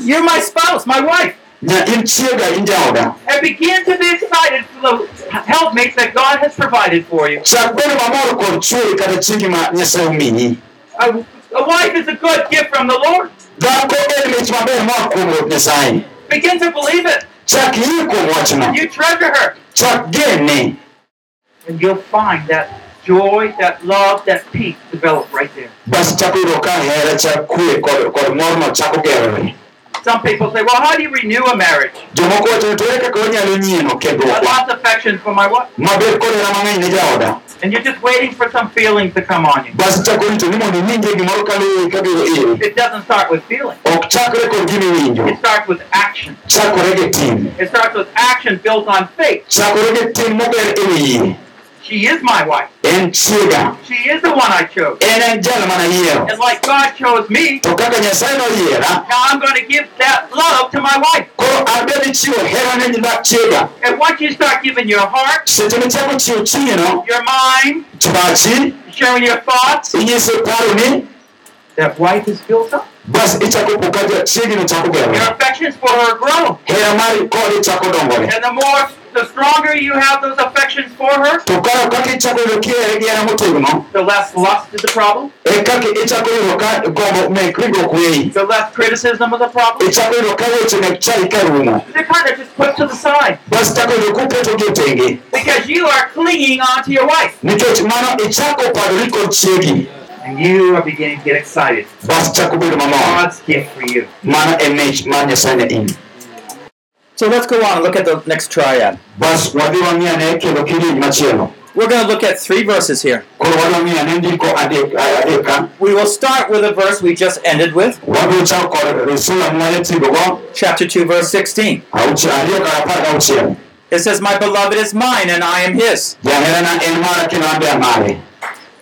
D: You're my spouse, my wife.
E: Ja- in chiega in jaoda
F: And begin to be excited for the helpmates that God has provided for you.
E: chak bedo mamor kod chwori kata chiegi ma nyasaye omiyi
F: A, a wife is a good gift from the Lord.
E: dhako en mich maber moa kuom ruoth nyasaye
F: Begin to believe it.
E: chak yie kuom wachno
F: You treasure her.
E: chak gene
F: And you'll find that joy, that love, that peace develop right there.
E: bas chako yudo ka hera chak kwe kod, kod morno chako gerore
F: Some people say, well, how do you renew a marriage?
E: jomoko wacho ni "Ere kaka wanyalo nyieno
F: I
E: kendruokwa
F: lost affection for my wife.
E: mabed kod hera mang'eny ne jaoda
F: And you're just waiting for some feelings to come on you.
E: bas chako rito ni mondo iwinje gimoro kaluwe kabiro iri
F: It doesn't start with feelings.
E: ok chakre kod
F: It
E: gimiwinjo
F: starts with action.
E: chakore gi tim
F: It starts with action built on faith.
E: chakore gi tim mober e wiyi
F: She is my wife.
E: en chiega
F: She is the one I chose.
E: en en jal manayiero
F: And like God chose me,
E: to kaka nyasaye noyiera
F: now I'm going to give that love to my wife.
E: koro abed chiwo hera ne dak chiega
F: And once you start giving your heart,
E: seche michako chiwo chingeno
F: your mind,
E: pachi
F: sharing your thoughts,
E: inyiso paroni
F: that wife is built up.
E: bas ichako po ka chiegino chako
F: Your
E: gerore
F: affections for her grow.
E: hera mari kode chako dongore
F: And the more, the stronger you have those affections for her,
E: to koro kaka ichako yudo kihere gi hera motegno
F: the less lust is the problem,
E: e kaka ichako yudo ka gombo mek rigruok weyi
F: the less criticism of the problem.
E: ichako yudo ka weche mek chai ka rumo
F: They're kind of just put to the side
E: bas ichako yudo kupetogi e tenge
F: because you are clinging on to your wife.
E: nikech mano ichako padori kod chiegi
F: And you are beginning to get excited.
E: bas ichako bedo mamor
F: God's gift for you.
E: mano e mich mar nyasaye ne in
D: So let's go on and look at the next triad.
E: bas wadhi wang'iane kendo kidieny machielo
D: We're going to look at three verses here.
E: koro wadwa ng'iane ndiko adek adeka
D: We will start with a verse we just ended with,
E: wabiro chako kod sula mwanyatigogo
D: chapter 2, verse 16.
E: auchiel ariyo kata apar gauchiel
D: It says, My beloved is mine, and I am his.
E: jaherana en mara kendo an be an mare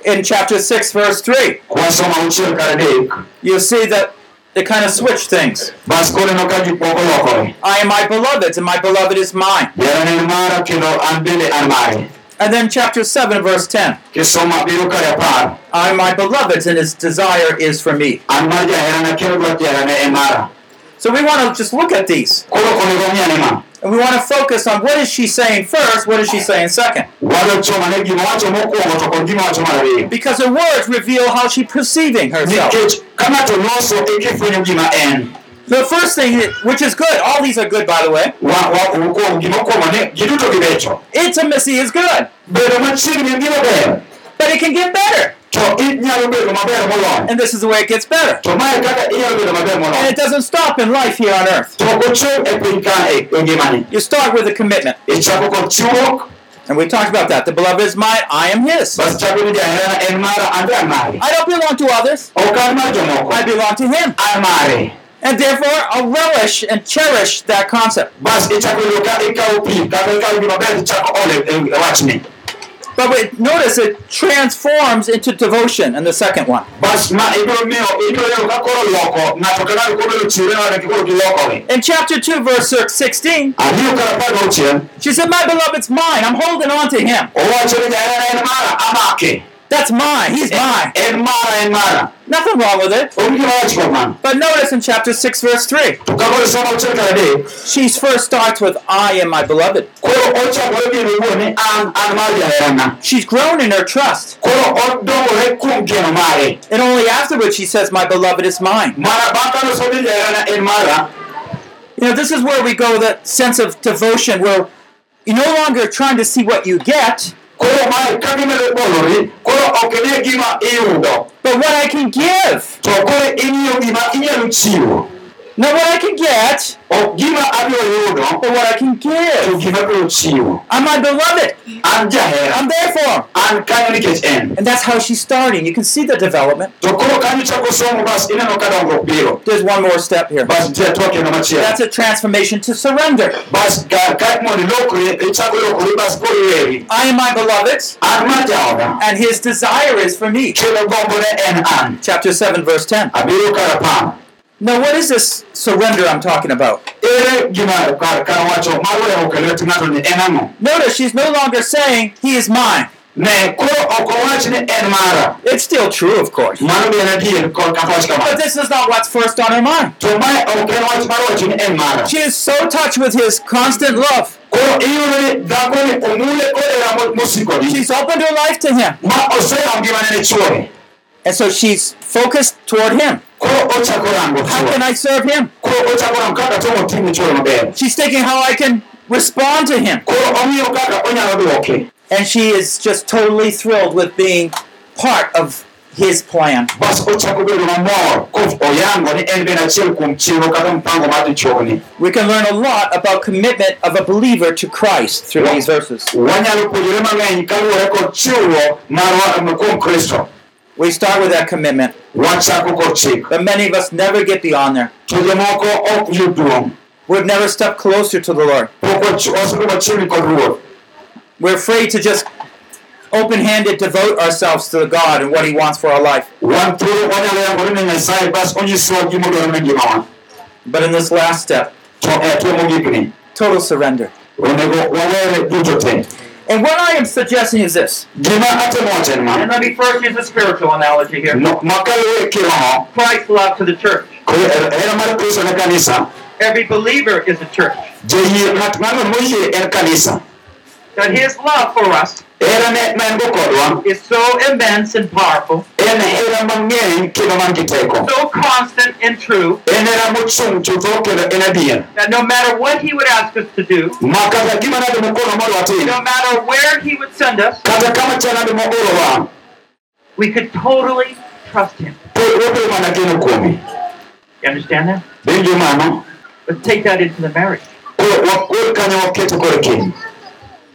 D: In chapter 6, verse 3,
E: kwasomo auchiel kar adek
D: you'll see that they kind of switch things.
E: bas koneno ka gik moko lokore
D: I am my beloved's, and my beloved is mine.
E: jaherana en mara kendo an bende an mare
D: And then chapter 7, verse 10.
E: kisoma abiro kar apar
D: I am my beloved's, and his desire is for me.
E: an mar jaherana kendo dwach jaherana e mara
D: So we want to just look at these.
E: koro onego ng'iane ma
D: And we want to focus on what is she saying first, what is she saying second.
E: wadwa chomo ne gima wacho mokwongo to kod gima wacho mar ariyo
D: Because her words reveal how she's perceiving herself.
E: nikech ka ng'ato loso eka ifwenyo gima en
D: The first thing, which is good, all these are good, by the way.
E: wa- wa- mokwongo- gima okwongo ni giduto gibecho
D: Intimacy is good,
E: bedo machiegni en gima ber
D: but it can get better.
E: to inyalo bedo maber moloyo
D: And this is the way it gets better.
E: to mae kaka inyalo bedo maber
D: And
E: moloyo
D: it doesn't stop in life here on earth.
E: to ok ochung e piny kae e ngimani
D: You start with a commitment.
E: ichako kod chiwruok
D: And we talked about that. The beloved is mine, I am his.
E: bas chako ni jaherana en mara an be an mare
D: I don't belong to others,
E: ok an mar jomoko
D: I belong to him.
E: an mare
D: And therefore, I'll relish and cherish that concept.
E: bas ichako yudo ka ikawo pi kata ikawo gima ber ichako ole e wachni
D: But wait, notice it transforms into devotion in the second one.
E: bas ma ibiro miyo ibiro yudo ka koro loko ng'ato ka ng'ato koro chiwre wadgi koro gilokogi
D: In chapter 2, verse 16,
E: ariyo kar apar gauchiel
D: she said, My beloved's mine. I'm holding on to him.
E: owacho ni jaherana en mara amake
D: That's mine. He's mine.
E: en mara en mara
D: Nothing wrong with it.
E: onge gima wach kod mano
D: But notice in chapter 6, verse 3,
E: to kakoro somo auchiel kar adek
D: she first starts with, I am my beloved.
E: koro ochakore gino owuon ni an an mar jaherana
D: She's grown in her trust.
E: koro odongore kuom geno mare
D: And only afterwards she says, My beloved is mine.
E: mara bang' kanosomo ni jaherana en mara
D: You know, this is where we go that sense of devotion where you're no longer trying to see what you get,
E: koro mae ka gimedo bolori koro ok ine gima iyudo
D: but what I can give.
E: to koro ing'iyo gima inyalo chiwo
D: Not what I can get,
E: ok gima abiro yudo
D: but what I can
E: to
D: give.
E: gima abiro chiwo
D: I'm my beloved.
E: an
D: I'm
E: jahera
D: there for him.
E: an kanyo nikech en
D: And that's how she's starting. You can see the development.
E: to koro kanyo chako somo bas ineno ka dongruok biro
D: There's one more step here.
E: bas nitie atua kendo
D: That's
E: machielo
D: a transformation to surrender.
E: bas ka ka mondo ilokri ichako lokori bas koro iweri
D: I am my beloved,
E: an ma jaoda
D: and his desire is for me.
E: kendo gombone en an
D: Chapter 7, verse 10.
E: abiro kar apar
D: Now, what is this surrender I'm talking about?
E: ere gima kar kar wacho mar weyo ok e lwet ng'ato ni en ang'o
D: Notice she's no longer saying, He is mine.
E: ne koro ok owach ni en mara
D: It's still true, of course.
E: mano be en adier kod kaka wach
D: But
E: kamano
D: this is not what's first on her mind.
E: to mae ok en wach mar wacho ni en mara
D: She is so touched with his constant love.
E: koro iyudo ni dhakoni omule kodera mosikoni
D: She's opened her life to him.
E: ma oseyao ngimane ne chuore
D: And so she's focused toward him.
E: koro ochako rango
D: How can
E: chuore
D: I serve him?
E: koro ochako rango kaka tomo timo chuore maber
D: She's thinking how I can respond to him.
E: koro ong'iyo kaka onyalo dwoke
D: And she is just totally thrilled with being part of his plan.
E: bas ochako bedo mamor kof oyango ni en bende achiel kuom chenro kata mpango mar dichuogni
D: We can learn a lot about commitment of a believer to Christ through these verses.
E: wanyalo puonjore mang'eny kaluwore kod chiwruok marwa kuom kristo
D: We start with that commitment,
E: wachako kod chik
D: but many of us never get beyond there.
E: to jomoko ok yud duong'
D: We've never stepped closer to the Lord.
E: pok wach- wasebedo machiegni kod ruoth
D: We're afraid to just open-handed devote ourselves to God and what He wants for our life.
E: wan thuolo wanyalo yangore ne nyasaye bas onyisowa gima odwaro ne ngimawa
D: But in this last step,
E: to e tuo mogikni
D: total surrender.
E: onego wawere duto te
D: And what I am suggesting is this:
E: gima atemo wacho en
F: And
E: ma
F: let me first use a spiritual analogy here.
E: no- makaluwe kiroho
F: Christ's love to the church.
E: kwe- hera mar kristo ne kanisa
F: Every believer is a church.
E: jeyie ng'at ng'ano moyie en kanisa
F: That his love for us
E: hera ne Er, ma en go kodwa
F: is so immense and powerful,
E: en hera mang'eny kendo man gi teko er,
F: so constant and true,
E: en hera mochung' chutho kendo en adier
F: that no matter what he would ask us to do,
E: ma kata gima nade mokono mondo watim
F: no matter where he would send us,
E: kata kama chal nade moorowa
F: we could totally trust him.
E: pod wabedo mana geno kuomi
F: You understand that?
E: winjo mano
F: Let's take that into the marriage.
E: koro wagol kanyo waketo koro keny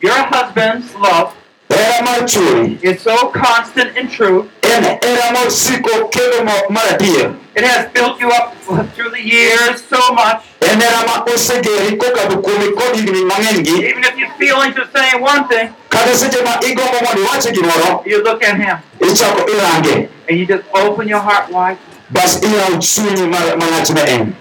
F: Your husband's love
E: hera mar chuori
F: is so constant and true.
E: en hera er, ma osiko kendo ma- mar adier
F: It has built you up through the years so much.
E: en hera er, ma osegeri kokadho kuomi kod higni mang'enygi
F: Even if you feel into saying one thing,
E: kata seche ma igombo mondo iwache gimoro
F: you look at him
E: ichako irange
F: and you just open your heart wide.
E: bas iyawo chunyi ma- malach ne en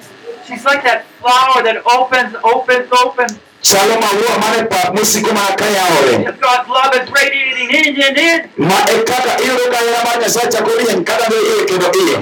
F: She's like that flower that opens, opens, opens.
E: Shalom awuo mane pap mosiko mana ka yawore
F: Because God's love is radiating in and in.
E: ma e kaka iyudo ka hera mar Nyasaye chako rieny kadonjo iye kendo iye.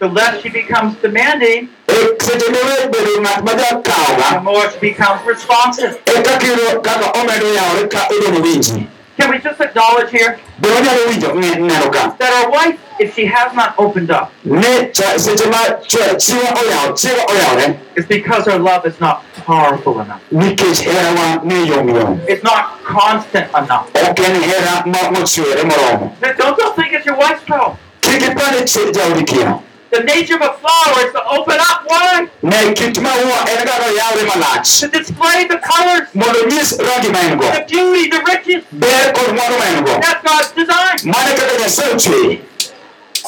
F: The less she becomes demanding,
E: E seche miwe bedo ng'at ma jakawo
F: the
E: ng'a,
F: more she becomes responsive.
E: e kaka iyudo kaka omedo yawore ka odong' winji.
F: Can we just acknowledge here
E: Be wanyalo winjo ng'e- neno ka.
F: that our wife, if she has not opened up,
E: Ni cha- seche ma chwe- chiwa oyaw- chiwa oyawore,
F: is because her love is not powerful enough.
E: nikech herawa ne yom yom.
F: It's not constant enough.
E: Ok en hera ma mochwere moromo.
F: Now, Don't just think it's your wife's problem.
E: Kik ipande chwe jaodi kino.
F: The nature of a flower is to open up wide,
E: Ne kit maua en ga noyawre malach.
F: to display the colors,
E: Mondo onyis rangi ma en go.
F: the beauty, the riches.
E: Ber kod mwandu ma en go.
F: That's God's design.
E: Mano e kaka Nyasaye ochweye.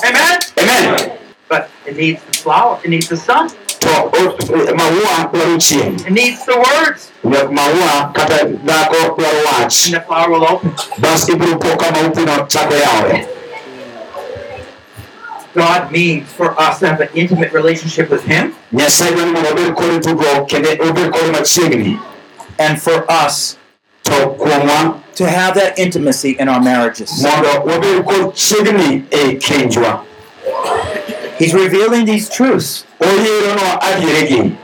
F: Amen?
E: Amen.
F: But it needs the flower, it needs the sun,
E: To o- maua dwaro chieng'.
F: it needs the words,
E: Ma- Maua kata dhako dwaro wach.
F: and the flower will open.
E: Bas ibiro po kama uthino chako yawre.
F: God means for us to have an intimate relationship with Him
E: Nyasaye dwaro ni mondo obed kodi tudruok kendo obed kodi machiegni.
D: and for us
E: To kuomwa
D: to have that intimacy in our marriages.
E: mondo wabed kod chiegni ei kenjwa.
D: He's revealing these truths,
E: oyieronwa adieregi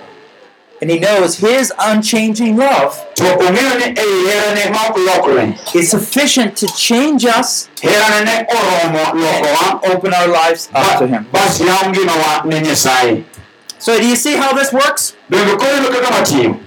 D: and He knows His unchanging love
E: to ong'eyo ni ei herane e ma ok lokre
D: is sufficient to change us
E: herane ne oromo
D: and
E: lokowa
D: open our lives up to Him.
E: ba- bas yaw ngimawa ne nyasaye
D: So, do you see how this works?
E: donge koyudo kaka watiyo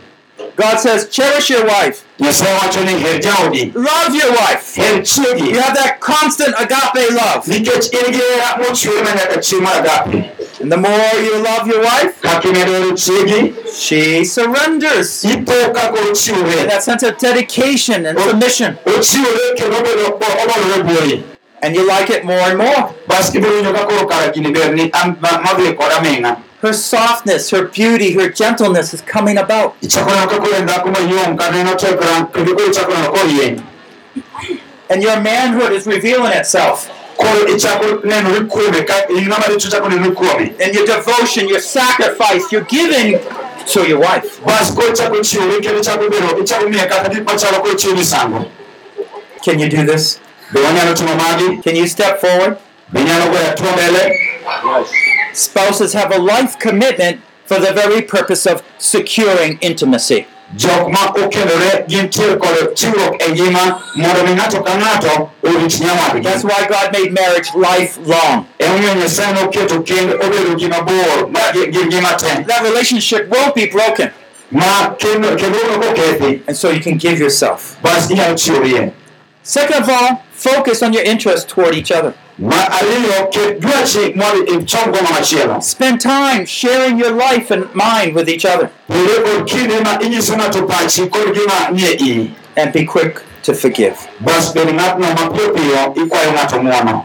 D: God says, Cherish your wife,
E: nyasaye wacho ni her jaodi
D: love your wife.
E: her chiegi
D: You have that constant agape love.
E: nikech in gi hera mochwer ma nyaka chieng' mar agape
D: And the more you love your wife,
E: kaka imedo hero chiegi
D: she surrenders.
E: ipo kaka
D: And
E: ochiwre
D: that sense of dedication and submission.
E: ochiwre kendo obedo obolore buori
D: And you like it more and more.
E: bas ibiro winjo ka koro kara gini ber ni an- ma- madhi kod aming'a
D: Her softness, her beauty, her gentleness is coming about.
E: ichako neno ka koro en dhako mayom ka neno tekra kendo koro ichako neno korieny
D: And your manhood is revealing itself.
E: koro ichako nenore kuome ka in ng'ama dichwo chako nenore kuome
D: And your devotion, your sacrifice, your giving to your wife.
E: bas koro ichako chiwore kendo ichako bedo ichako miye kata gik machalo koro chiwo misango
D: Can you do this?
E: be wanyalo timo magi
D: Can you step forward?
E: be nyalo goyo atua mbele
D: Spouses have a life commitment for the very purpose of securing intimacy.
E: jok ma okendore gintiere kod chiwruok e ngima mondo mi ng'ato ka ng'ato orit
D: That's
E: nyawadgi
D: why God made marriage lifelong.
E: emomiyo nyasaye noketo kend obedo gima bor ma gi gi ngima te
D: That relationship won't be broken.
E: ma kendo kendo kokethi
D: And so you can give yourself.
E: bas inyalo chiwrie
D: Second of all, focus on your interests toward each other.
E: ma ariyo ket dwachi mondo ichom goma machielo
D: Spend time sharing your life and mind with each other.
E: Bende kod kinde ma inyiso ng'ato pachi kod gima nie iyi.
D: And be quick to forgive.
E: Bas bed ng'atno mapiyo piyo ikwayo ng'ato ng'uono.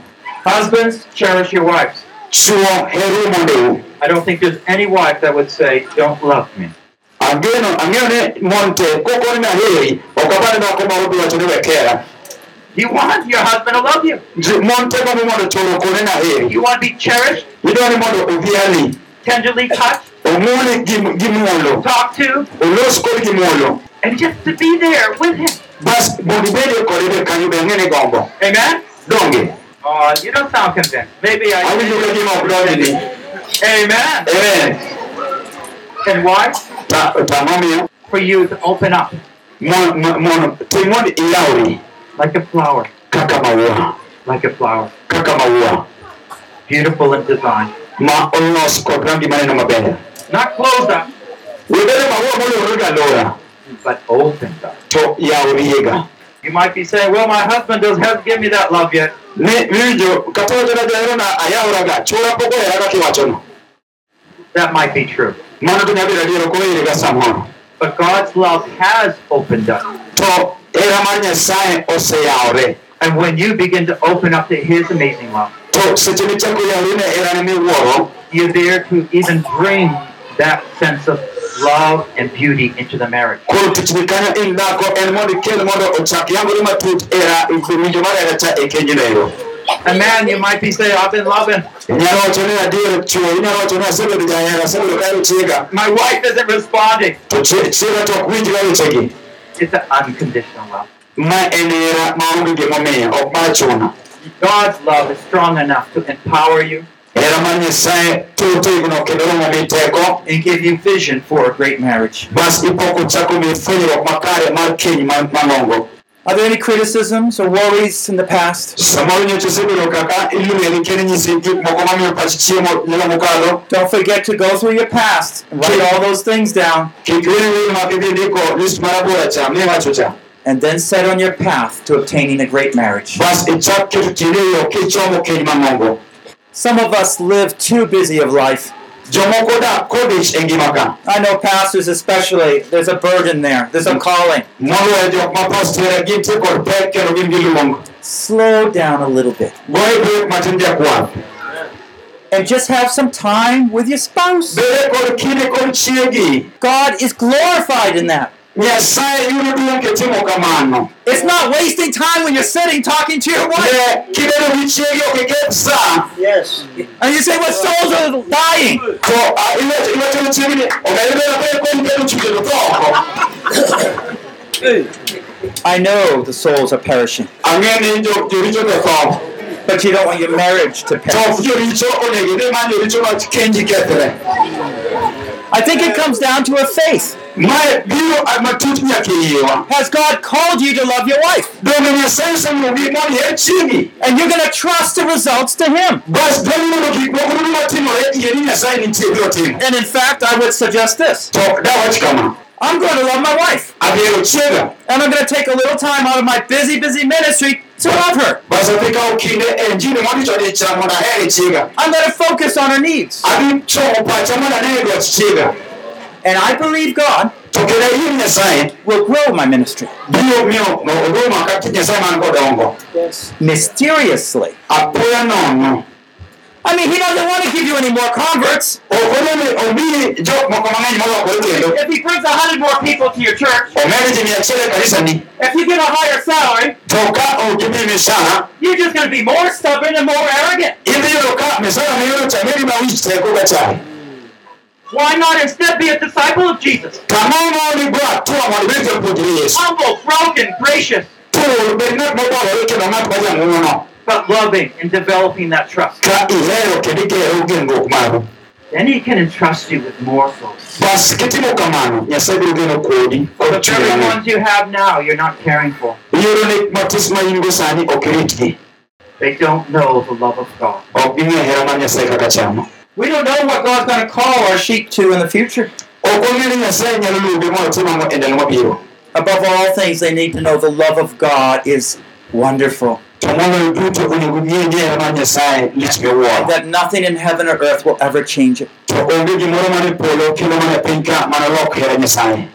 F: Husbands, cherish your wives.
E: Chuo heru mondeu.
F: I don't think there's any wife that would say, Don't love me.
E: Ageno, ang'eyo ni mon te kokoni aheri, ok apar ni dhako moro biwacho ni we kera.
F: You want your husband to love you.
E: Ji- Mon te gombo mondo chuo okone ni aheri.
F: You want to be cherished,
E: Idwa ni mondo odhiali,
F: tenderly touched,
E: omuli gi gi muolo,
F: talked to,
E: olos kodi gi muolo.
F: and just to be there with him.
E: Bas mondo ibedie kode be kanyo be ang'e ni gombo.
F: Amen?
E: Donge,
F: Oh, you don't sound convinced. Maybe I.
E: awinjo ka gima ok donge ni.
F: Amen.
E: Amen.
F: And why?
E: Ta- Tang'omiyo,
F: For you to open up
E: mon, mon- mon, tim mondo iyawri.
F: like a flower,
E: kaka maua
F: like a flower,
E: kaka maua
F: beautiful and divine.
E: ma olos kod rangi maneno maber
F: Not closed up,
E: webedo maua molure gi alora
F: but opened up.
E: to yawriega
F: You might be saying, Well, my husband doesn't have give me that love yet.
E: ne winjo kata wajona jaherona ayawraga chura pok oheraga kiwachono
F: That might be true.
E: mano to nyabedo adiero koherega samoro
F: But God's love has opened up.
E: to hera mar nyasaye oseyawre
F: And when you begin to open up to His amazing love,
E: to seche michako yawri ne herane miwuoro
F: you're there to even bring that sense of love and beauty into the marriage.
E: koro tichni kanyo in e dhako en mondo ikel mondo ochak yangore matut era winjo mar hera cha e kenjno ero
F: And man, you might be saying, I've been loving.
E: inyalo wacho ni adier chwe inyalo wacho ni asebedo jahera asebedo ka chiega
F: My wife isn't responding.
E: to chie- chiega to ok winjga wechegi
F: It's an unconditional love.
E: ma en hera maonge gimomiyo ok ma chuna
F: God's love is strong enough to empower you
E: hera mar nyasaye totegno kendo romo mi teko
F: and give you vision for a great marriage.
E: bas ipoko chako mi fwenyruok makare mar keny ma- malongo
D: Are there any criticisms or worries in the past?
E: samoro nyocha osebedo kaka ilueli kendo nyisi gik moko mamiyo pach chiemo nyalo mokalo
D: Don't forget to go through your past and write all those things down
E: kik weri wil mak idhi ndiko list marabora cha miwacho cha
D: and then set on your path to obtaining a great marriage.
E: bas ichak keto tiendi e yo kichomo keny malongo
D: Some of us live too busy of life.
E: jomoko odak kodich e ngima ka
D: I know pastors especially, there's a burden there, there's a calling.
E: moloyo jok ma pastere gintie kod pek kendo gin gi luong
D: Slow down a little bit
E: goye brek matin jakwath
D: and just have some time with your spouse.
E: bede kod kinde kod chiegi
D: God is glorified in that.
E: nyasaye yudo duong' kitimo kamano
D: It's not wasting time when you're sitting talking to your wife
E: ne kibedo gi chiegi ok iketh sa
D: and you say, What souls are dying?
E: to ah, iwacho iwacho ni chiegni okayibera pe kon keto chunge to tho oko
D: I know the souls are perishing,
E: ang'e ni jo- joricho to tho
D: but you don't want your marriage to
E: to
D: perish.
E: ok joricho onego idhi ma joricho ma kenji kethre
D: I think it comes down to a faith.
E: mae biro ah, matut nyaka iyiwa
D: Has God called you to love your wife?
E: donge nyasaye oseluongi mondo iher chiegi
D: And you're going to trust the results to Him.
E: bas bang' yudo gik moko duto matimore yie ni nyasaye nitie biro timo
D: And in fact, I would suggest this
E: to dawach kama
D: I'm going to love my wife.
E: adhiero chiega
D: And I'm going to take a little time out of my busy, busy ministry to love her.
E: bas adhi kawo kinde e njini modicho dicha mondo ahere e chiega
D: I'm going to focus on her needs.
E: adhi chomo pacha mondo anene dwach e chiega
D: And I believe God
E: to kendo ayie ni nyasaye
D: will grow my ministry
E: biro miyo oduma kaka nyasaye man kodongo
D: mysteriously.
E: apoya nono
D: I mean, He doesn't want to give you any more converts.
E: ok odoni omiyi jok moko mang'eny molokore kendo
D: If He brings a hundred more people to your church,
E: omed ji mia achiel e kanisani
D: if you get a higher salary,
E: to ka ok ibi misara
D: you're just going to be more stubborn and more arrogant.
E: idhi yudo ka misara miyudo cha negi mawich teko ka chaye
F: Why not instead be a disciple of Jesus?
E: kamoro maoni go atua mondo ibed japuonjre yesu
F: Humble, broken, gracious,
E: tur bed ng'at mobolore kendo ng'at ma jang'uono
F: but loving and developing that trust.
E: ka ihero kendo igero genruok maru
F: Then he can entrust you with more souls.
E: bas kitimo kamano nyasaye biro geno kodi kod
F: The
E: chuny
F: very
E: mang'eny.
F: ones you have now, you're not caring for.
E: iyudo ni matis ma in go sani ok ritgi
F: They don't know the love of God.
E: ok ging'e hera mar nyasaye kaka chamo
D: We don't know what God's going to call our sheep to in the future.
E: ok ong'e ni nyasaye nyalo luonge mondo otim ang'o e ndalo mabiro
D: Above all things, they need to know the love of God is wonderful,
E: to moloyo duto onego ng'e ni hera mar nyasaye lich miwuoro
D: that nothing in heaven or earth will ever change it.
E: to onge gimoro mane polo kendo mane piny ka manolok hera nyasaye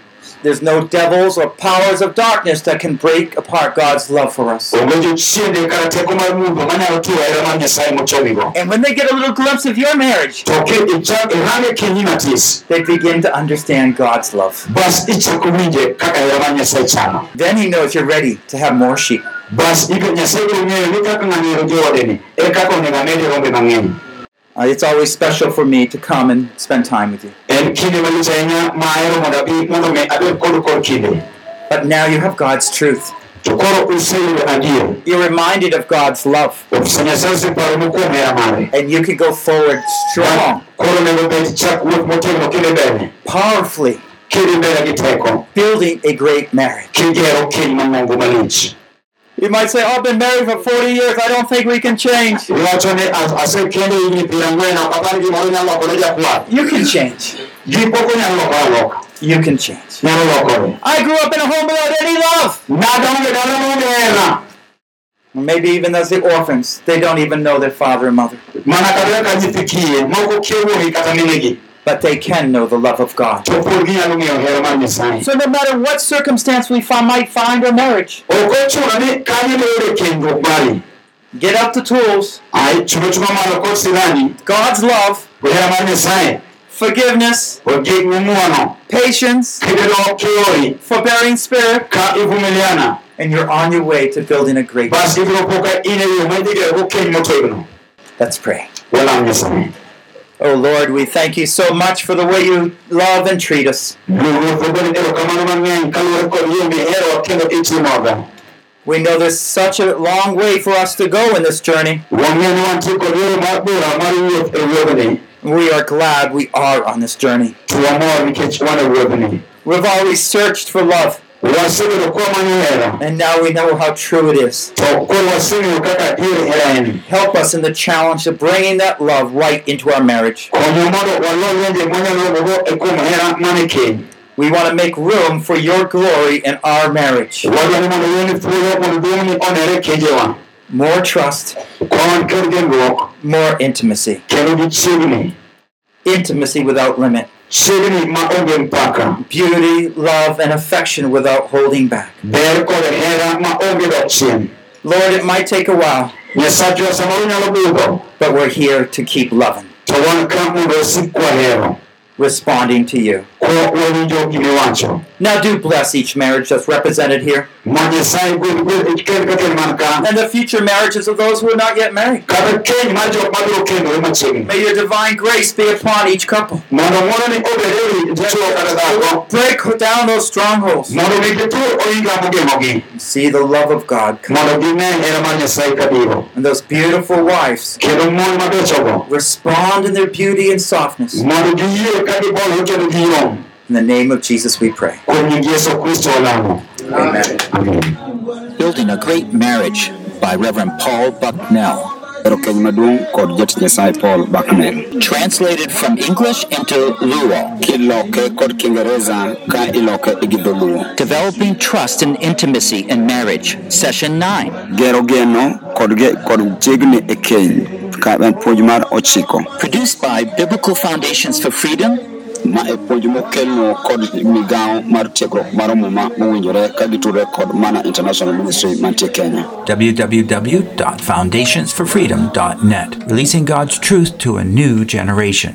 D: There's no devils or powers of darkness that can break apart God's love for us.
E: onge jochiende kata teko mar mudho manyalo tuo hera mar nyasaye mochomigo
D: And when they get a little glimpse of your marriage,
E: to ki ichak irange kinyi matis
D: they begin to understand God's love.
E: bas ichako winje kaka hera mar nyasaye chano
D: Then He knows you're ready to have more sheep.
E: bas ibe nyasaye biro ng'eyo ni kaka ng'ani hero joodeni e kaka onego amede rombe mang'eny
D: Uh, it's always special for me to come and spend time with you.
E: en kinde malich ahinya ma ahero mondo abi mondo mi abed kodu kod kinde
D: But now you have God's truth.
E: to koro useyudo adier
D: You're reminded of God's love,
E: ofisa nyasaye oseparonu kuom hera mare
D: and you can go forward strong,
E: koro onego bed chak wuoth motegno kidhi mbele
D: powerfully,
E: kidhi mbele gi teko
D: building a great marriage.
E: kigero keny mamoko malich
D: You might say, oh, I've been married for 40 years. I don't think we can change.
E: iwacho ni "As- asekendo higni piero ang'wen ok apar gimoro nyalo lokore jakwath
D: You can change.
E: gipoko nyalo lokore aloka
D: You can change.
E: nyalo lokore
D: I grew up in a home without any love.
E: nadonge dala maonge hera
D: Maybe even as the orphans, they don't even know their father and mother.
E: mana kata ka nyithi kiye moko kia wuogi kata minegi
D: But they can know the love of God.
E: to pod ginyalo ng'eyo hera mar nyasaye
D: So no matter what circumstance we fi- might find our marriage,
E: ok ochuno ni kanyo beyudo kendruok mari
D: get out the tools,
E: ai chuno chuma malo kod sirani
D: God's love,
E: hera mar nyasaye
D: forgiveness,
E: wakiung'uano
D: patience,
E: kibedo kiori
D: forbearing spirit,
E: ka ivumiliana
D: and you're on your way to building a great.
E: basi ibiro po ka in e yo ma idhigerego keny motegno
D: Let's pray.
E: walam nyasaye
D: Oh Lord, we thank you so much for the way you love and treat us.
E: Luwuoth wagoni erokamano mang'eny kaluwore kod yo mihero kendo itimoga
D: We know there's such a long way for us to go in this journey.
E: wang'e ni wantie kod yore mar bura mar wuoth e wuodhni
D: We are glad we are on this journey.
E: to wamor nikech wan e wuodhni
D: We've always searched for love,
E: wasebedo kwamanyo hera
D: and now we know how true it is.
E: to koro waseng'eyo kaka adier hera en
D: Help us in the challenge of bringing that love right into our marriage.
E: konyo mondo walo lwenje mwanyalogogo e kuom hera mane keny
D: We want to make room for your glory in our marriage.
E: wadwa ni mondo yoni thuolo mondo duong'ni onere e kenjewa
D: More trust,
E: kwan kod genruok
D: more intimacy.
E: kendo gi chiegni
D: Intimacy without limit.
E: chiegni maonge mpaka
D: Beauty, love, and affection without holding back.
E: ber kod hera maonge dok chien
D: Lord, it might take a while,
E: nyasachwa samoro nyalo budho
D: but we're here to keep loving,
E: to wan ka mondo osik kwahero
D: responding to you.
E: ko wawinjo gimiwacho
D: Now do bless each marriage that's represented here
E: ma nyasaye gwedh gwedh ikel ka kel man ka
D: and the future marriages of those who are not yet married.
E: kata keny mar jok mabiro kendore machiegni
D: May your divine grace be upon each couple.
E: mondo ng'wononi obed e wi dichwo kata dhako
D: Break down those strongholds.
E: mondo mi gitur ohinga mogemogi
D: See the love of God come.
E: mondo gine hera mar nyasaye kabiro
D: And those beautiful wives
E: kendo mon mabechogo
D: respond in their beauty and softness.
E: mondo giyie ka gibolore kendo giyom
D: In the name of Jesus we pray.
E: kuom nying yesu kristo walamo
D: Amen.
E: amen
A: Building a Great Marriage by Reverend Paul Bucknell.
B: ero keny maduong' kod jatich nyasaye paul bucknell
A: Translated from English into Luo.
B: kiloke kod kiingereza ka iloke e igi dholuo
A: Developing Trust and Intimacy in Marriage, Session 9.
B: gero geno kod, ge, kod chiegni e keny ka en puonj mar ochiko
A: Produced by Biblical Foundations for Freedom
B: ma e puonj mokelno kod migawo mar tiegruok mar muma mowinjore ka gitudore kod mana international ministry mantie kenya
C: www.foundationsforfreedom.net, releasing God's truth to a new generation.